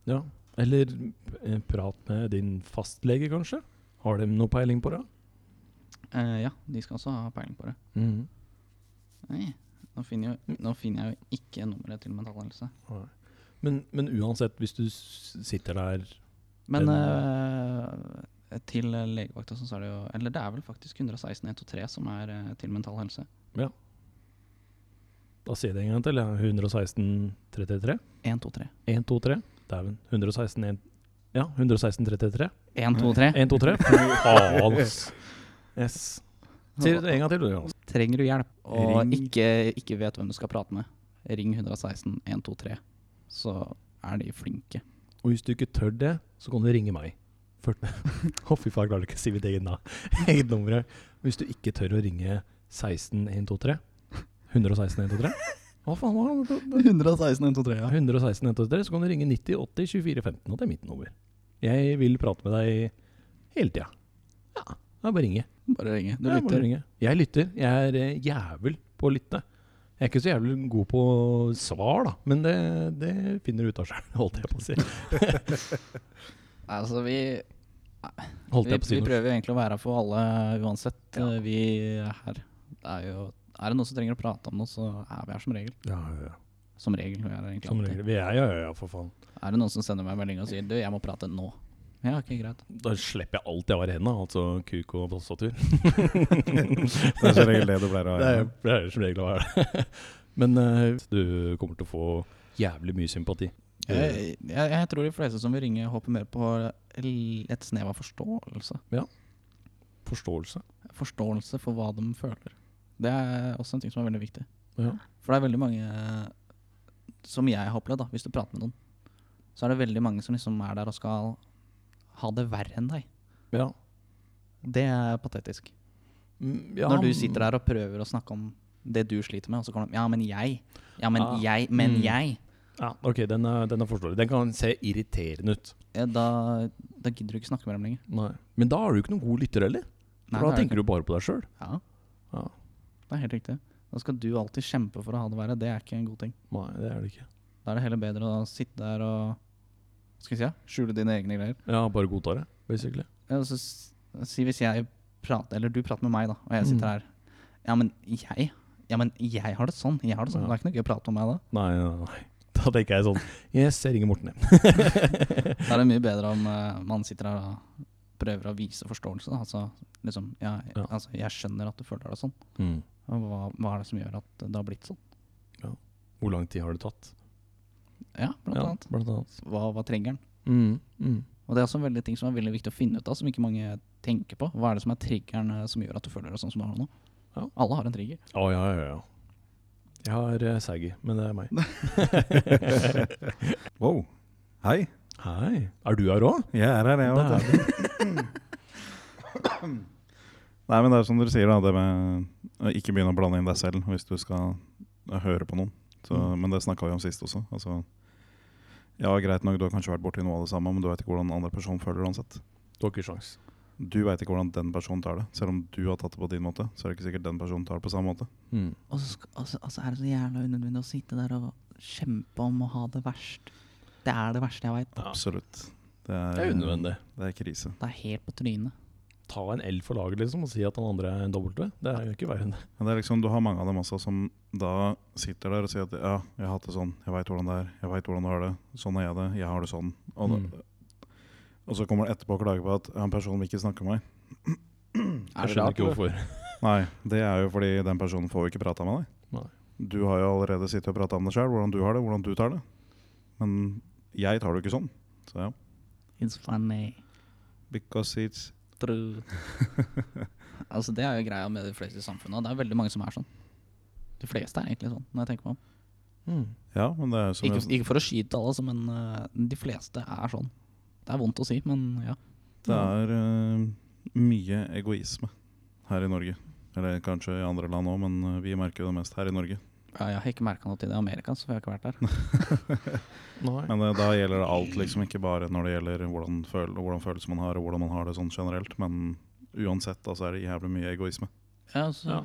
Ja. Eller eh, prat med din fastlege, kanskje. Har de noe peiling på det? Eh, ja, de skal også ha peiling på det. Nei, nå finner, jo, nå finner jeg jo ikke nummeret til Mental Helse. Nei. Men, men uansett, hvis du s- sitter der Men Den, eh, til eh, legevakta så er det jo Eller det er vel faktisk 116 123 som er eh, til Mental Helse. Da sier jeg det en gang til. ja. 116 333. 123. 1, 2, 3. Dæven. 116 1, Ja, 116 333. 123. 1, 2, 3. Faen, ass. Yes. Sier det en gang til, du. Jonas. Trenger du hjelp og Ring. ikke, ikke vet hvem du skal prate med, ring 116 123. Så er de flinke. Og hvis du ikke tør det, så kan du ringe meg. Å, fy faen, jeg klarer ikke å si mitt eget, na- eget nummer. her. Hvis du ikke tør å ringe 16 123 116 123 Hva faen var det? 116 123, 116 123, så kan du ringe 90 80 24 15, og det er mitt nummer. Jeg vil prate med deg hele tida. Ja, det er bare å ringe. Bare ringe. Du Ja, bare lytter. ringe. Jeg lytter. Jeg er eh, jævel på å lytte. Jeg er ikke så jævlig god på svar, da, men det, det finner du ut av sjøl, holdt jeg på å si. Altså, vi, Holdt vi, jeg på å si vi noe. prøver jo egentlig å være her for alle uansett. eh, Vi er her. Det er jo Er det noen som trenger å prate om noe, så er vi her som regel. Ja, ja, ja. Som regel. Vi er, her egentlig Som alltid. regel. Vi er ja, ja, ja, for faen. er det noen som sender meg en melding og sier 'du, jeg må prate nå'? Ja, ok, greit. Da slipper jeg alt jeg har i hendene, altså kuk og prostatur. Det er som regel det du pleier å Det ha. er, det er som regel å være det. Men eh, du kommer til å få jævlig mye sympati. Jeg, jeg, jeg tror de fleste som vil ringe, håper mer på l- et snev av forståelse. Forståelse. Forståelse for hva de føler. Det er også en ting som er veldig viktig. Ja. For det er veldig mange eh, som jeg har opplevd, da, hvis du prater med noen, så er det veldig mange som liksom er der og skal ha det verre enn deg. ja. Det er patetisk. Mm, ja, Når du sitter der og prøver å snakke om det du sliter med, og så kommer de Ja, men jeg. Ja, men Ah. jeg. Men Mm. jeg. Ja, ok, den er, den er forståelig. Den kan se irriterende ut. Eh, Da, da gidder du ikke snakke med dem lenger. Nei. Men da er du ikke noen god lytter heller. Nei, For det da er det tenker du bare på deg sjøl. Ja, Ja. det er helt riktig. Da skal du alltid kjempe for å ha det verre. Det er ikke en god ting. Nei, det er det ikke. Da er det heller bedre å sitte der og hva skal vi si, ja, skjule dine egne greier. Ja, bare godta det, basically. Ja, og så s- si hvis jeg prater, eller du prater med meg, da, og jeg sitter Mm. her Ja, men jeg Ja, men jeg har det sånn. Jeg har det sånn. Ja. Det er ikke noe gøy å prate med meg da. Nei, nei, nei. Da tenker jeg sånn Yes, jeg ringer Morten, jeg. Da er det mye bedre om eh, man sitter her og prøver å vise forståelse. Da. Altså liksom ja, Ja. Altså, jeg skjønner at du føler deg sånn. Mm. Og hva, hva er det som gjør at det har blitt sånn? Hvor lang tid har det tatt? Ja, blant Ja, annet. Blant annet. Hva, hva trenger den? Mm. Mm. Og det er også en veldig ting som er veldig viktig å finne ut av, som ikke mange tenker på. Hva er det som er triggeren eh, som gjør at du føler deg sånn som du har det nå? Ja. Alle har en trigger. Å, ja, ja, ja. Jeg har uh, saggy, men det er meg. Wow. Hei. Hei. Er du her òg? Jeg er her, jeg Der òg. Nei, men det er som dere sier, da. Det med å ikke begynne å blande inn deg selv hvis du skal eh, høre på noen. Så, Mm. Men det snakka vi om sist også. Altså, ja, greit nok, du har kanskje vært borti noe av det samme, men du veit ikke hvordan den andre personen føler det uansett. Du har ikke sjans. Du veit ikke hvordan den personen tar det. Selv om du har tatt det på din måte, så er det ikke sikkert den personen tar det på samme måte. Mm. Og så sk- altså, altså er det så jævla unødvendig å sitte der og kjempe om å ha det verst. Det er det verste jeg veit. Ja. Absolutt. Det Det er unødvendig. Det er krise. Det er helt på Mm. trynet. Ta en L for laget liksom, og si at den andre er en W. Det er jo ikke verre enn det. Men det er liksom, du har mange av dem også som da sitter der og sier at ja, jeg har hatt det sånn, jeg veit hvordan det er, jeg veit hvordan du har det, sånn er jeg det, jeg har det sånn. Og, da- Mm. og så kommer det etterpå og klager på at ja, en person vil ikke snakke med meg. Jeg skjønner ikke hvorfor. Nei, det er jo fordi den personen får jo ikke prata med deg. Nei. Du har jo allerede sittet og prata om det sjøl, hvordan du har det, hvordan du tar det. Men jeg tar det jo ikke sånn. Så ja. It's funny. Because it's True. altså, det er jo greia med de fleste i samfunnet. og Det er veldig mange som er sånn. De fleste er egentlig sånn, når jeg tenker meg om. Mm. Ja, men det er jo som Ikke, jeg- ikke for å skyte alle, altså, men eh, de fleste er sånn. Det er vondt å si, men ja. Det er eh, mye egoisme her i Norge. Eller kanskje i andre land òg, men eh, vi merker jo det mest her i Norge. ja jeg har ikke merka noe til det i Amerika, så jeg har ikke vært der. Nei. Men eh, da gjelder det alt, liksom. Ikke bare når det gjelder hvordan, føl hvordan følelser man har, og hvordan man har det sånn generelt. Men uansett, da så er det jævlig mye egoisme. Ja, så Ja.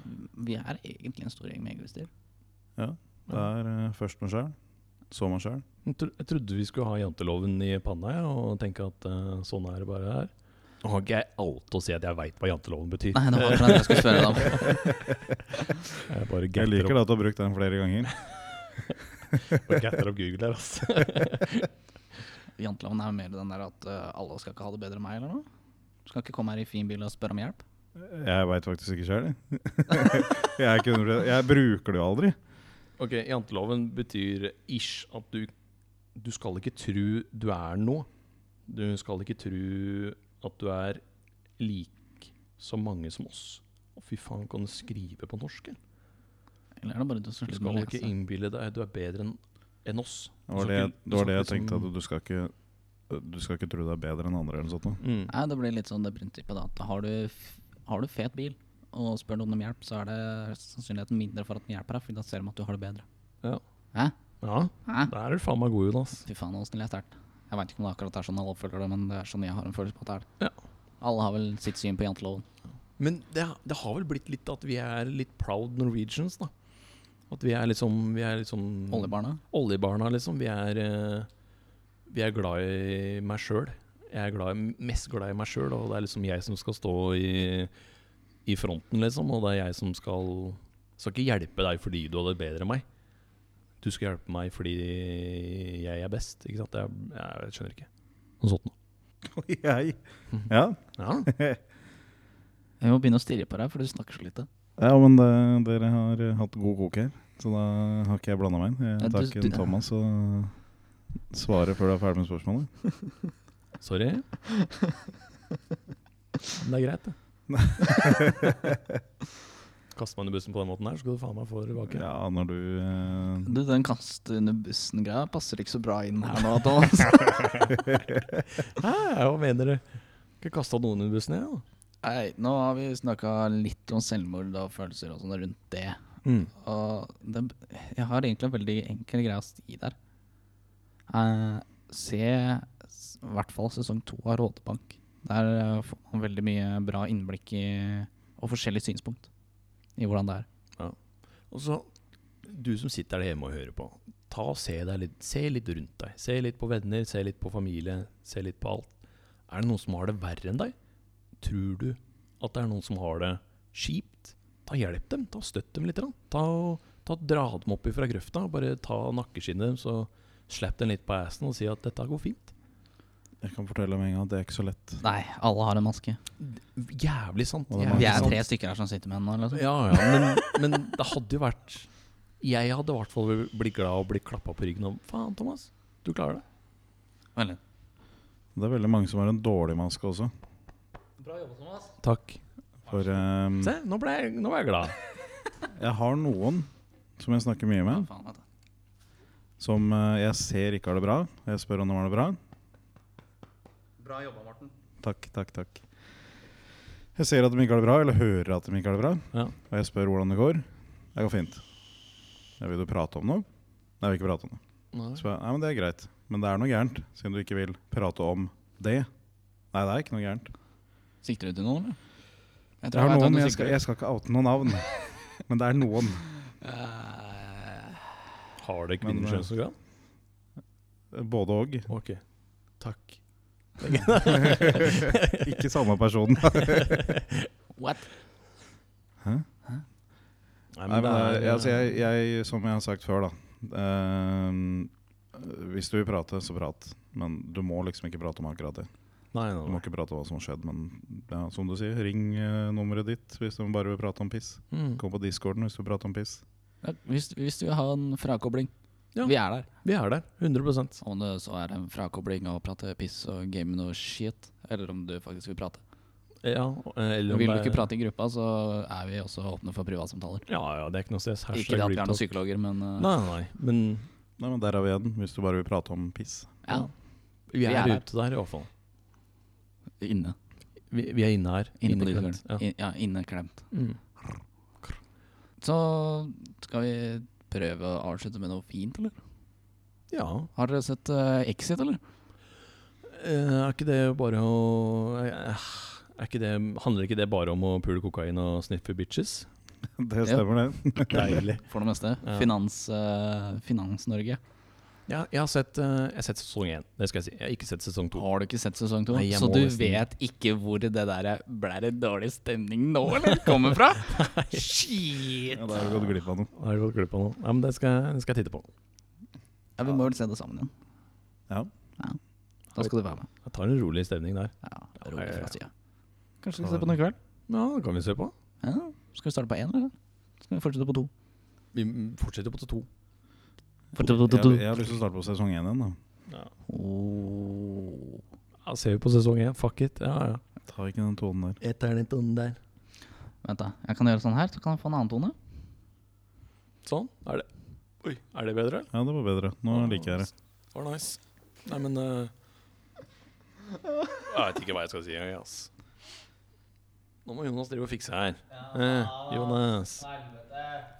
Vi er egentlig en stor gjeng med egoister. Det er eh, først meg sjæl, så meg sjæl. Jeg tro- jeg trodde vi skulle ha janteloven i panna jeg, og tenke at eh, sånn er det bare her. Nå har ikke jeg alt å si at jeg veit hva janteloven betyr. Nei, det var akkurat det jeg skulle spørre deg om. Jeg bare Jeg liker gatter det at du har brukt den flere ganger. opp, gatter opp Google her, altså. Janteloven er mer den der at eh, alle skal ikke ha det bedre enn meg, eller noe? Du skal ikke komme her i fin bil og spørre om hjelp? Jeg veit faktisk ikke sjæl, jeg. Jeg, er ikke hundre- jeg bruker det jo aldri. Ok, janteloven betyr ish at du, du skal ikke tro du er noe. Du skal ikke tro at du er lik så mange som oss. Å, fy faen, kan du skrive på norsk? eller? Eller er det bare du som Du slutter skal å ikke lese? innbille deg du er bedre enn enn oss. Det var Du det, skal ikke- det, var du det jeg skal ikke tenkte, liksom- at du skal ikke du skal ikke tro du er bedre enn andre. eller noe sånt. nå. Mm. Nei, det blir litt sånn det prinsippet da, at har du, f- har du fet bil og spør noen om hjelp, så er det sannsynligheten mindre for at den hjelper deg, for da ser de at du har det bedre. Ja. Hæ? Ja, Hæ? der er du faen meg god, Jonas. Fy faen, åssen jeg sterkt. Jeg veit ikke om det akkurat er sånn alle oppfølger det, men det er sånn jeg har en følelse på at det er. Ja. Alle har vel sitt syn på janteloven. Men det, det har vel blitt litt at vi er litt proud Norwegians, da. At vi er liksom, vi er liksom Oljebarna? Oljebarna, liksom. Vi er, eh, vi er glad i meg sjøl. Jeg er glad i, mest glad i meg sjøl, og det er liksom jeg som skal stå i, i fronten, liksom. Og det er jeg som skal Skal ikke hjelpe deg fordi du hadde det bedre enn meg. Du skal hjelpe meg fordi jeg er best, ikke sant. Jeg, jeg, skjønner ikke. Noe sånt noe. Ja. Ja. Jeg må begynne å stirre på deg, for du snakker så lite. ja, men det, dere har eh, hatt god kok her, så da har ikke jeg blanda meg inn. Ja, Jeg du- tar ikke en du- Thomas og Svare før du er ferdig med spørsmålet? Sorry. Men det er greit, det. Kaster man i bussen på den måten her, så skal du faen meg få det tilbake. Ja, når du eh, Du, Den kaste under bussen-greia passer ikke så bra inn her nå, Thomas. Hæ, hva mener du? Ikke kasta noen under bussen, jeg, da. Nei, nå har vi snakka litt om selvmord og følelser og sånn rundt det. Og det, jeg har egentlig en veldig enkel greie å si der. Eh, se s- i hvert fall sesong to av Rådebank. Der eh, får man veldig mye bra innblikk i, og forskjellig synspunkt i hvordan det er. Og så, du som sitter der hjemme og hører på, ta og se deg litt, se litt rundt deg. Se litt på venner, se litt på familie, se litt på alt. Er det noen som har det verre enn deg? Tror du at det er noen som har det kjipt? Ta Hjelp dem, ta og støtt dem litt. grann. Ta og, ta og Dra dem opp ifra grøfta. og Bare ta nakkeskinnet deres og slapp dem litt på assen og si at dette går fint. Jeg kan fortelle med en gang at det er ikke så lett. Nei, alle har en maske. Jævlig sant. Og det er jævlig Vi er sant. tre stykker her som sitter med den nå. Liksom. Ja, ja, men, men det hadde jo vært Jeg hadde i hvert fall blitt glad og blitt klappa på ryggen om Faen, Thomas, du klarer det. Veldig. Det er veldig mange som har en dårlig maske også. Bra jobba, Thomas. Takk. For eh, Mm. Se, nå ble jeg, nå ble jeg glad. jeg har noen som jeg snakker mye Ja, med, faen, vet du. som eh, jeg ser ikke har det bra. Jeg spør om de har det bra. Bra jobba, Morten. Takk, takk, takk. Jeg ser at de ikke har det bra, eller hører at de ikke har det bra. Ja. Og jeg spør hvordan det går. Det går fint. Jeg vil du prate om noe? Nei, jeg vil ikke prate om noe. Så jeg, nei, men det er greit. Men det er noe gærent, siden du ikke vil prate om det. Nei, det er ikke noe gærent. Sikter du til noen, eller? Jeg Jeg har vet hvem du noen, jeg sikter skal, jeg skal ikke oute noen navn. Men det er noen. Eh, Har det Men, kvinner eh, kjønnsorgan? Både og. Ok. Takk. Ikke samme person. What? Nei, eh, Nei, men det er- jeg, altså, jeg, jeg, som jeg har sagt før, da ehm, Hvis du vil prate, så prat. Men du må liksom ikke prate om akkurat det. Nei, Du nei, må nei. ikke prate om hva som har skjedd, men ja, som du sier, ring eh, nummeret ditt hvis du bare vil prate om piss. Mm. Kom på discorden hvis du vil prate om piss. Ja, Hvis, hvis du vil ha en frakobling. Ja. Vi er der. Vi er der. 100 Om det så er en frakobling og prate piss og game noe shit, eller om du faktisk vil prate. Ja, eller om Vil du det er- ikke prate i gruppa, så er vi også åpne for privatsamtaler. Ja, ja, det er ikke noe stress. Ikke det at vi er noen psykologer, men uh, Nei, nei, nei. Men Nei, men Der er vi igjen, hvis du bare vil prate om piss. ja, vi er, Vi er der. ute der, i hvert fall. inne. Vi, vi er inne her. Inne på inneklemt. discorden. In- Ja, inneklemt. Ja. Mm. Så skal vi prøve å avslutte med noe fint, eller? ja. Har dere sett uh, Exit, eller? Eh, Er ikke det bare å eh, er ikke det, Handler ikke det bare om å pule kokain og sniffe bitches? Det stemmer, det. Deilig. For det meste. Ja. Finans, uh, Finans-Norge. Ja, jeg har sett, eh, jeg har sett sesong én. Det skal jeg si. Jeg har ikke sett sesong to. Har du ikke sett sesong to? Nei, jeg Så må du nesten- vet ikke hvor det der ble det dårlig stemning nå, eller? Kommer fra? Shit! Ja, Da har du gått glipp av noe. Jeg har gått glipp av noe. Nei, men det skal, jeg- det skal jeg titte på. Ja, vi må vel se det sammen igjen. Ja. Da skal du være med. Jeg tar en rolig stemning der. Ja, Ja, rolig ja, ja. fra sida. Kanskje vi Så- ser på den i kveld? Ja, det kan vi se på. Ja. Skal vi starte på én, eller? Skal vi fortsette på to? Vi mm, fortsetter på til to. Fortsette Jeg, jeg har lyst til å starte på sesong én igjen. da Oh. Ja, ser vi på sesong én. Fuck it. Ja, ja. Ta ikke den tonen der. Etter den tonen der. Vent, da. Jeg kan gjøre sånn her, så kan jeg få en annen tone. Sånn. Er det Oi, er det bedre? Ja, det var bedre. Nå liker jeg det. Var nice. Nei, men eh, Jeg vet ikke hva jeg skal si engang, ass. Nå må Jonas drive og fikse her. Eh, Jonas.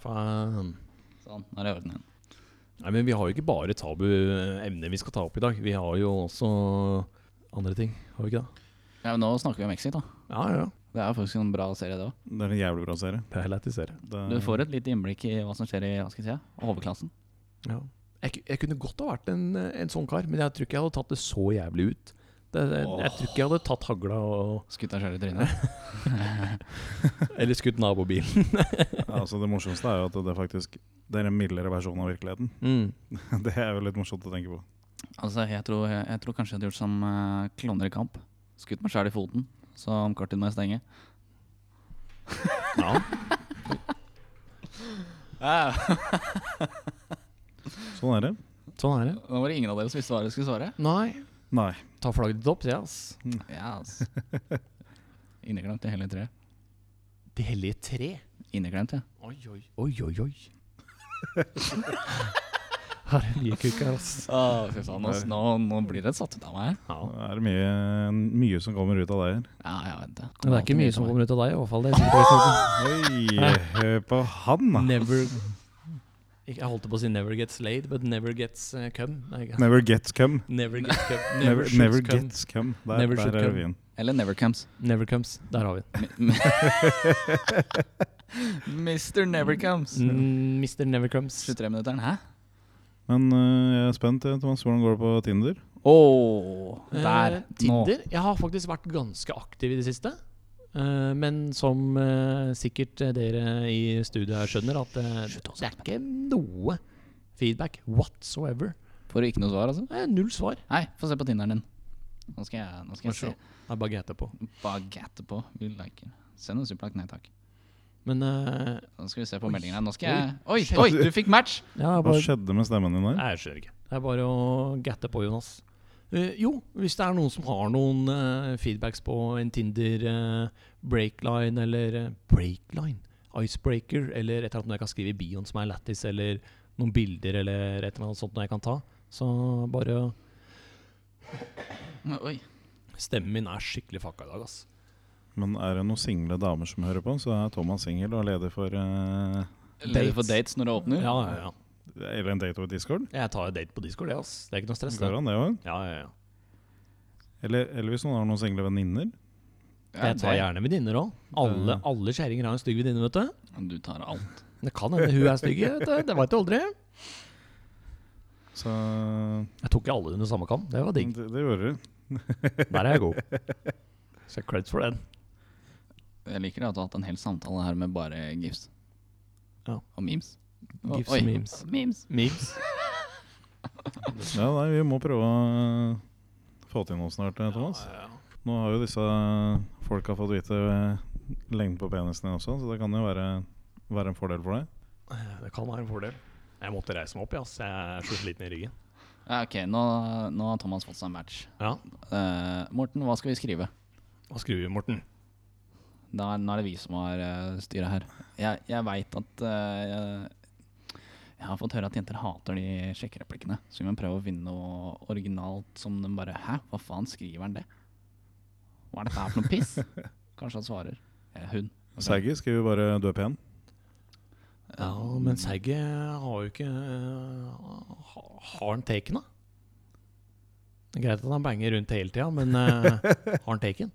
Faen. Sånn, nå er det i orden igjen. Nei, men vi har jo ikke bare tabu eh, emner vi skal ta opp i dag. Vi har jo også andre ting, har vi ikke det? Ja, men nå snakker vi om Exit, da. Ja, ja. ja. Det er faktisk en bra serie, det òg. Det er en jævlig bra serie. Det er lett i serie. Det, Du får et lite innblikk i hva som skjer i hva skal jeg si, ja, overklassen. Ja. Jeg, ku- jeg kunne godt ha vært en, en sånn kar, men jeg tror ikke jeg hadde tatt det så jævlig ut. Det, det, jeg tror ikke jeg hadde tatt hagla og Skutt deg sjøl i trynet. Eller skutt nabobilen. ja, altså, det morsomste er jo at det faktisk Det er en mildere versjon av virkeligheten. Mm. Det er jo litt morsomt å tenke på. Altså, jeg tror, jeg, jeg tror kanskje jeg hadde gjort som eh, kloner i kamp. Skutt meg sjæl i foten, så om kort tid må jeg stenge. Ja. Ja, Sånn er det. Sånn er det. Nå var det ingen av dere som visste hva dere skulle svare. Nei, Nei. ta flagget ditt opp, det, ass. Ja, altså. Inneglemt det hele treet. Det hellige tre. Inneglemt, ja. Oi, oi, oi, oi. oi. Har en mye kukk her, ass. Å, fy faen. Nå, nå, nå blir det satt ut av meg. Ja. Det er mye, mye som kommer ut av deg her. Ja, jeg vet det. Men det er ikke mye som kommer ut av deg, i hvert fall. Det er sikkert Oi, hør på han, da. never Ikke- Jeg holdt på å si 'never gets laid', but 'never gets uh, come'. Nei, ikke- Never gets come. Never gets come. Never, should never come. gets come. Der, Never should der er come. revyen. Eller Never Comes. Never comes. Der har vi den. Mr. Never Comes. Mm, Mr. Never comes. 23 minutter, hæ? Men øh, jeg er spent, eh, Thomas. Hvordan går det på Tinder? Å, der. Eh, Nå. Tinder? Jeg har faktisk vært ganske aktiv i det siste. Eh, men som eh, sikkert eh, dere i studiet her skjønner, at eh, det er ikke noe feedback whatsoever. Får du ikke noe svar, altså? Eh, null svar. Nei, få se på Tinderen din. Nå skal jeg, nå skal jeg se. Det er bagette på. Bagette på. Vi liker. Send en supplagt. Nei takk. Men eh, Nå skal vi se på Oi. meldingen her. Nå skal jeg Oi, oi, du fikk match! ja, Hva bare, skjedde med stemmen din der? Nei, jeg skjønner ikke. Det er bare å gatte på, Jonas. Eh, jo, hvis det er noen som har noen eh, feedbacks på en Tinder eh, breakline eller eh, breakline, icebreaker, eller et eller annet noe jeg kan skrive i bioen som er lættis, eller noen bilder eller et eller annet sånt noe jeg kan ta, så bare Oi. Stemmen min er skikkelig fucka i dag, ass. Men er det noen single damer som hører på, så er Thomas singel og leder for eh, Leder for Dates. dates når det åpner? Ja, ja, ja. Eller en date over Discord. Jeg tar jo date på Discord, det, ass. Det er ikke noe stress. Det. Går an, det også. Ja, ja, ja. Eller, eller hvis noen har noen single venninner. Ja, Jeg tar gjerne venninner òg. Alle, alle kjerringer har en stygg venninne, vet du. det- Du tar alt. Det kan hende hun er stygg, vet du. Det veit du aldri. Så Jeg tok ikke alle under samme kam. Det var det, digg. det gjorde du. Der er jeg god. Så creds for den. Jeg liker at du har hatt en hel samtale her med bare gifs. Ja. Og memes. Og- Gifs oi, og memes. memes. Memes. Ja, nei, vi må prøve å eh, få til noe snart, eh, Thomas. Nå har jo disse folka fått vite eh, lengden på penisen din også, så det kan jo være, være en fordel for deg. Det kan være en fordel. Jeg måtte reise meg opp, ja, ass. Jeg er så sliten i ryggen. Ja, ok, nå, nå har Thomas fått seg en match. Ja. Eh, Morten, hva skal vi skrive? Hva skriver vi, Morten? Da er, nå er det vi som har uh, styret her. Jeg, jeg veit at eh, jeg, jeg har fått høre at jenter hater de sjekkereplikkene. Så vi må prøve å finne noe originalt som de bare Hæ, hva faen skriver han det? Hva er dette her for noe piss? Kanskje han svarer. Eh, hun. Ok. Saggy skriver bare 'du er pen'. Ja, men Segge har jo ikke eh, ha- Har han taken, da? Det er greit at han banger rundt hele tida, men eh, har han taken?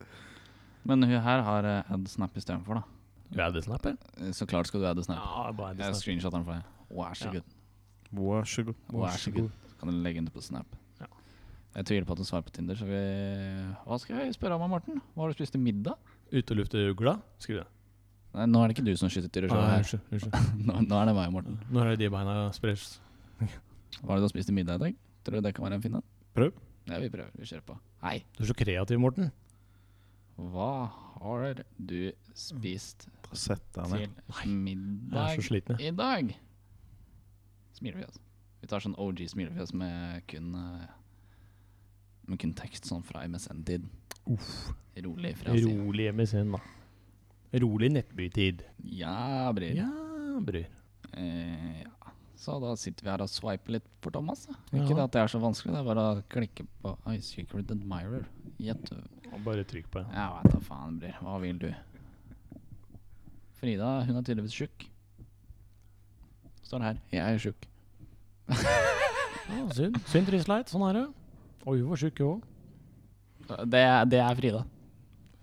Men hun her har uh, AdSnap istedenfor, da. Du er det snapper? Eh, Så klart skal du ha AdSnap. Ja, bare det Jeg snapper. screenshotter den for deg. Vær så Ja. god. Vær så god. Vær så god. Så kan du legge den ut på Snap. Ja. Jeg tviler på at du svarer på Tinder, så vi Hva skal vi spørre om, Morten? Hva har du spist til middag? Utelufteugla? Skriv det. Nei, nå er det ikke du som skyter Nei, her. Unnskyld. unnskyld. Nå, nå er det meg, Morten. Når er det de beina spres? Hva er det du har spist til middag i dag? Tror du det kan være en fin en? Prøv. Ja, vi prøver. Vi kjører på. Hei, Du er så kreativ, Morten. hva har du spist Sett deg ned. til Jeg er middag så sliten. jeg. i dag? Smilefjes. Vi tar sånn OG smilefjes med kun eh, Med kun tekst sånn fra MSN-tid. Rolig fra siden. Rolig MSN, da. Rolig nettbytid. Ja, Bril. Ja, bryr. Eh, ja. Så da sitter vi her og swiper litt for Thomas. Da. Ja. Ikke det at det er så vanskelig, det er bare å klikke på Oi, Secret Admirer. Gjett du. Bare trykk på den. Jeg veit da faen, Brir. Hva vil du? Frida, hun er tydeligvis tjukk. Står det her. Jeg er tjukk. Ja, synd. Synd Trisleit. Sånn er det. Oi, hun var tjukk, hun òg. Det, er- det er Frida.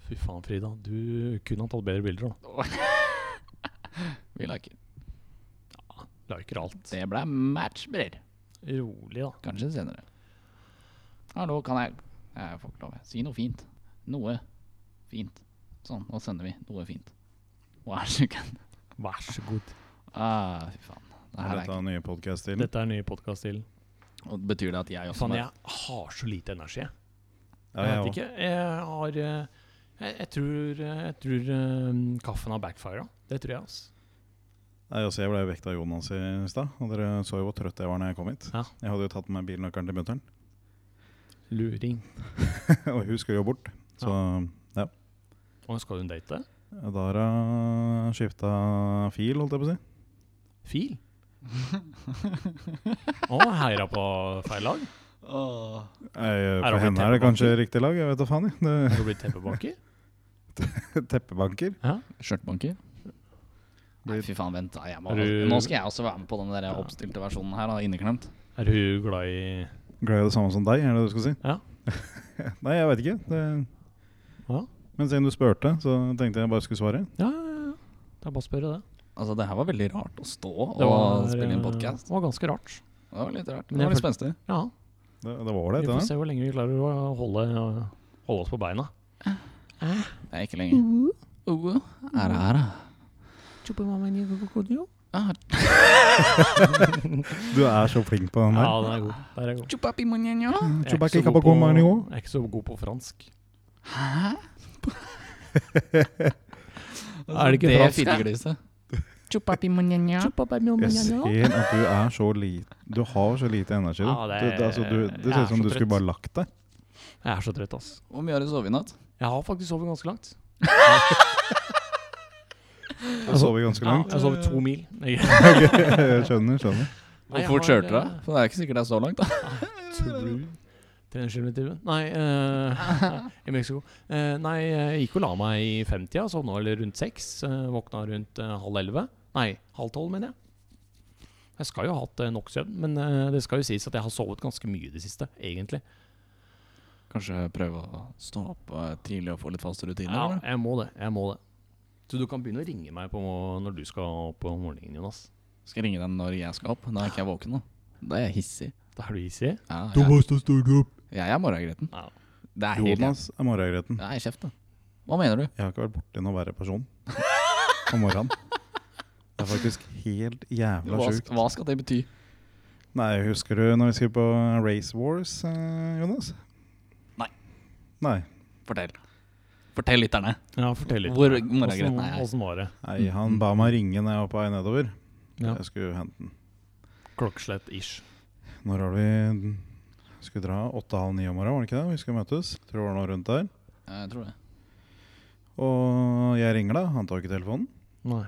Fy faen, Frida. Du kunne ha tatt bedre bilder, da. Vi liker. Liker alt. Det ble match, Brir. Rolig, da. Kanskje senere. Hallo, kan jeg Jeg får ikke lov. jeg. Si noe fint. Noe fint. Sånn, nå sender vi noe fint. Vær så god. Vær så god. Ah, fy faen. Det her Er er dette ikke. den nye podkast-stilen? Dette er ny podkast til. Og Betyr det at jeg også Faen, var- jeg har så lite energi, jeg. Ja, Jeg jeg vet ikke. Jeg har eh, Jeg, jeg tror, eh, jeg tror eh, kaffen har backfira. Det tror jeg, altså. Nei, altså Jeg ble jo vekt av Jonas i stad, og dere så jo hvor trøtt jeg var når jeg kom hit. Ja. Jeg hadde jo tatt med meg bilnøkkelen til mutter'n, Luring. og hun skulle jo bort. Så Og skal hun date? da har hun skifta fil, holdt jeg på å si. Fil? Å, heira på feil lag? Åh. Eh, Er det For henne er det kanskje riktig lag, jeg vet da faen. jeg. Er du blitt teppebanker? Det, teppebanker. Skjørtbanker? Nei, Blir- fy faen, vent. da, Jeg må, altså, Er du- nå skal jeg også være med på den der oppstilte versjonen her, da, inneklemt. Er hun glad i Glad i det samme som deg, er det det du skal si? Ja. Nei, jeg veit ikke. Det, Ja. Men siden du spurte, så tenkte jeg bare skulle svare. Ja, ja, ja. Det er bare å spørre det. Altså, det her var veldig rart å stå og Det var, spille inn eh, podkast. Det var ganske rart. Det var litt rart. Men Det var jeg litt spenstig. Ja. Det, det var Vi får ålreit, det. da. se hvor lenge vi klarer å holde, holde oss på beina. Det er ikke lenger. Uh, er det her, da? Ah, Du er så flink på den Ja, her. den er god. Der er god. chupapi muñeño. Jeg er ikke Chewbacca så god Capacol på- Mario. Jeg er ikke så god på fransk. Hæ? Er det ikke Ah, det fransk, da? fittegriset? Chupapi muñeño. Jeg ser at du er så lite Du har så lite energi. Du. Ja, det- det, det, altså, du, det jeg ser er ut som så du trøtt. skulle bare lagt deg. Jeg er så trøtt, ass. Hvor mye har du sovet i natt? Jeg har faktisk sovet ganske langt. Da sover vi ganske Ja, langt. jeg har sovet to mil. Nei, skjønner, skjønner. Hvor jeg fort har, eh, kjørte du? da? For det er ikke sikkert det er så langt, da. True. 300 km i timen? Nei, eh, i Mexico. Eh, nei, jeg gikk og la meg i femtida, sovna vel rundt seks. eh, våkna rundt eh, halv elleve. Nei, halv tolv, mener jeg. Jeg skal jo ha hatt eh, nok søvn, men eh, det skal jo sies at jeg har sovet ganske mye i det siste, egentlig. Kanskje prøve å stå opp eh, tidlig og få litt faste rutiner? Ja, eller? jeg må det. Jeg må det. Så du kan begynne å ringe meg på når du skal opp om morgenen, Jonas. Skal jeg ringe deg når jeg skal opp. Da er ikke jeg våken nå. Da er jeg hissig. Da er du easy. Ja, jeg, jeg er morgengretten. Ja. Det er helt Jonas er morgengretten. Nei, kjeft, da. Hva mener du? Jeg har ikke vært borti noen verre person om morgenen. Det er faktisk helt jævla Hva, sjukt. hva skal det bety? Nei, husker du når vi skulle på Race Wars, eh, Jonas? Nei. Nei. Fortell. Fortell lytterne. Ja, fortell litt. Hvor Åssen morgengretten er jeg? åssen var det? Nei, han ba meg ringe når jeg var på vei nedover. Ja. Jeg skulle hente den. Klokkeslett-ish. Når var det vi skulle dra? Åtte-halv ni om morgenen, var det ikke det? Vi skulle møtes. Tror det var noe rundt der. Jeg tror det. Og jeg ringer da, han tar ikke telefonen. Nei.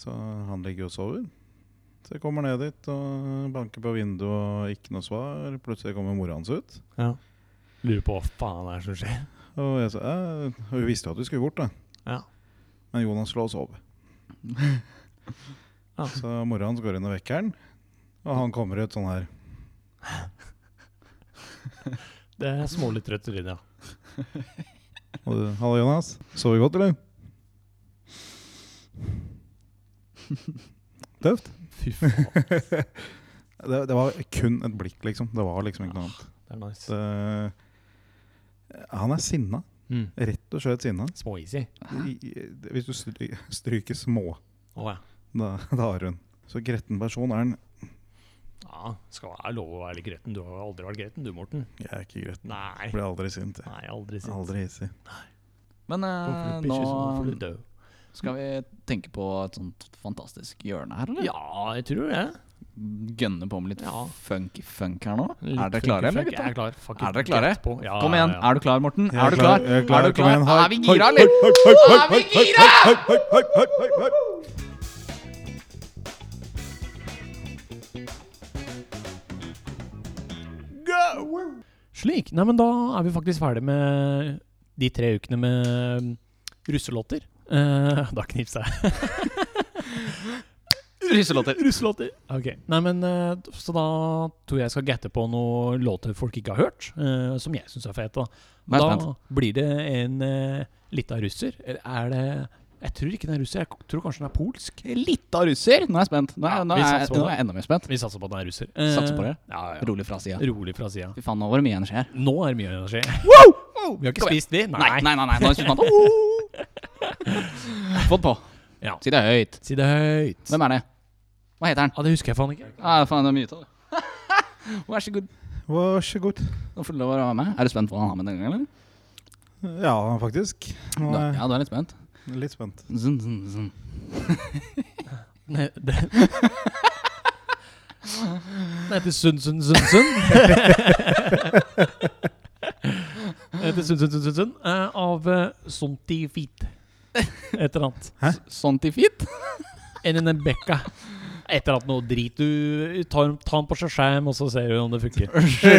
Så han ligger og sover. Så jeg kommer ned dit og banker på vinduet og ikke noe svar. Plutselig kommer mora hans ut. Ja. Lurer på hva faen det er som skjer. Og jeg sa, «Eh», og hun visste jo at vi skulle bort, da. Ja. Men Jonas lå og sov. Ja. Så mora hans går inn og vekker han. Og han kommer ut sånn her. Det er smålig trøtt i trynet, ja. Og du, 'Hallo, Jonas. Sover du godt, eller?' Tøft. Fy faen, Det, det var kun et blikk, liksom. Det var liksom ikke noe annet. det er nice. Ah, Det- han er sinna. Mm. Rett og slett sinna. Små-easy. I- i- Hvis du stry- stryker små, Å ja. da, da har hun. Så gretten person er han. ja. Skal være lov å være litt gretten. Du har jo aldri vært gretten du, Morten. Jeg er ikke gretten. Nei. Blir aldri sint. jeg. Nei, aldri sint. Aldri hissig. Men eh, Hvorfor du nå bitches, hvorfor du dø? skal vi tenke på et sånt fantastisk hjørne her, eller? Ja, jeg tror det. Gønne på med litt Ja. funky funk her nå. Litt er dere funky klare, eller, funk. Jeg gutta? er klar. Fuck it. Er dere klare? Rett på. Ja, Kom igjen. Ja, ja. Er du klar, Morten? Jeg Er du klar? jeg er klar, Er du kom klar? igjen, hei, Er vi hei, gira, hei, eller? hei, hei, hei, Er vi hei, hei, gira? hei, hei, hei, hei, hei, hei, hei. Slik. Nei, men da er vi faktisk ferdig med de tre ukene med mm, russelåter. Eh, da knipser jeg. Russelåter. Russelåter. Ok. Nei, men eh, Så da tror jeg jeg skal gatte på noen låter folk ikke har hørt, eh, som jeg syns er fete. Da, Nå er jeg da blir det en uh, lita russer. Eller er det Jeg tror ikke den er russer, jeg k- tror kanskje den er polsk. Litt av russer. Nå er jeg spent. Nå er, Ja, nå vi er, satser på nå er jeg enda mer spent. Vi satser på at den er russer. Satser på det. Eh, Ja, ja. Rolig fra sida. Rolig fra sida. Fy faen, nå var det mye energi her. Nå er det mye energi. Vi har ikke Kom igjen. spist, vi. Nei. Nei, nei, nei. nei. Nå er det spent. Få den på. Ja. Si det høyt. Si det høyt. Hvem er det? Hva heter han? Ja, det husker jeg faen ikke. Ah, faen, det er mye av det. Vær så god. Vær så god. Nå får du lov å være med. Er du spent på hva han har med denne gangen, eller? Ja, faktisk. Nå Da- er Ja, du er litt spent. jeg litt spent. Zun, zun, zun. Nei, det Den heter Sundsund Sundsund. Den heter Sundsund Sundsund eh, av eh, Sonti Feet. Et eller annet. Sontifit? NNM Bekka. Et eller annet noe drit. Du tar ta den på skjerm, og så ser du om det funker.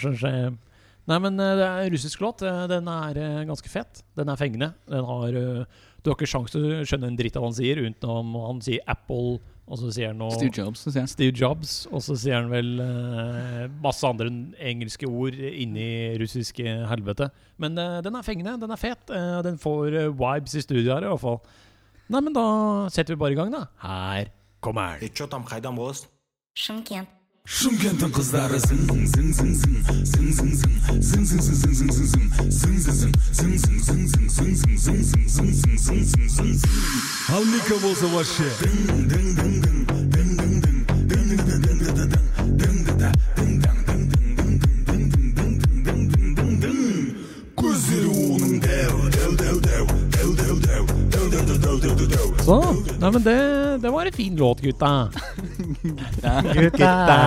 Shazam. Nei, men eh, det er en russisk låt. Eh, Den er eh, ganske fet. Den er fengende. Den har eh, Du har ikke sjans til å skjønne en dritt av hva han sier, utenom han sier Apple, og så sier han noe Steve Jobs, synes jeg. Steve Jobs, og så sier han vel eh, masse andre engelske ord inni russiske helvete. Men eh, den er fengende, den er fet, eh, den får eh, vibes i studio her i hvert fall. Nei, men da setter vi bare i gang, da. Her kommer den. E ço tam qaydan bolasın? Шымкент. Шымкенттің қыздары зың зың зың зың зың зың зың зың зың зың зың зың зың зың зың зың зың зың зың зың зың зың зың зың зың зың зың зың ал ника болса вообще көздері оның дәу дәу дәу дәу дәу дәу дәу дәу дәу дәу дәу дәу дәу Så, nei, men det, det var en fin låt, gutta. gutta.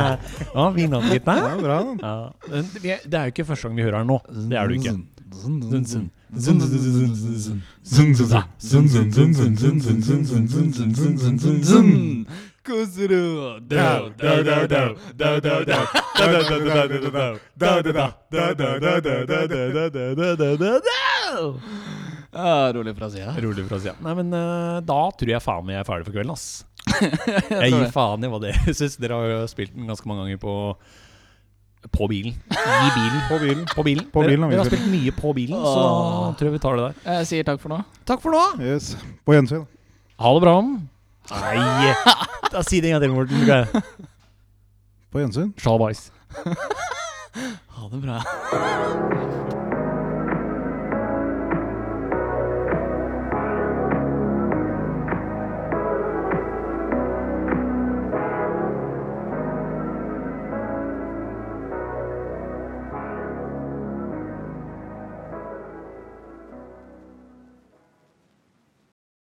Ja, fin låt, gutta. Ja, bra, da. Ja. men vi er- Det er jo ikke første gang vi hører den nå. Det er det jo ikke. Zun, zun. Zun, zun, zun, zun, zun, zun. Zın zın zın zın zın zın zın zın zın zın zın zın zın zın zın zın Zun. Kuzuru. Da Dau, da dau, da dau, da dau. da da da da da da da da da da da da da da da da Ja, rolig fra sida. Rolig fra siden. Nei, men eh, da tror jeg faen meg jeg er ferdig for kvelden, ass. Jeg Jeg tror gir det. faen i hva det Jeg syns dere har jo spilt den ganske mange ganger på På bilen. I bilen. På bilen. På bilen. På bilen har dere, vi dere har spilt mye på bilen, så da Åh. tror jeg vi tar det der. Jeg sier takk for nå. Takk for nå. Yes. På gjensyn. Ha det bra. Nei Da Si det en gang til, Morten. skal jeg. På gjensyn. Shalabais. Ha det bra.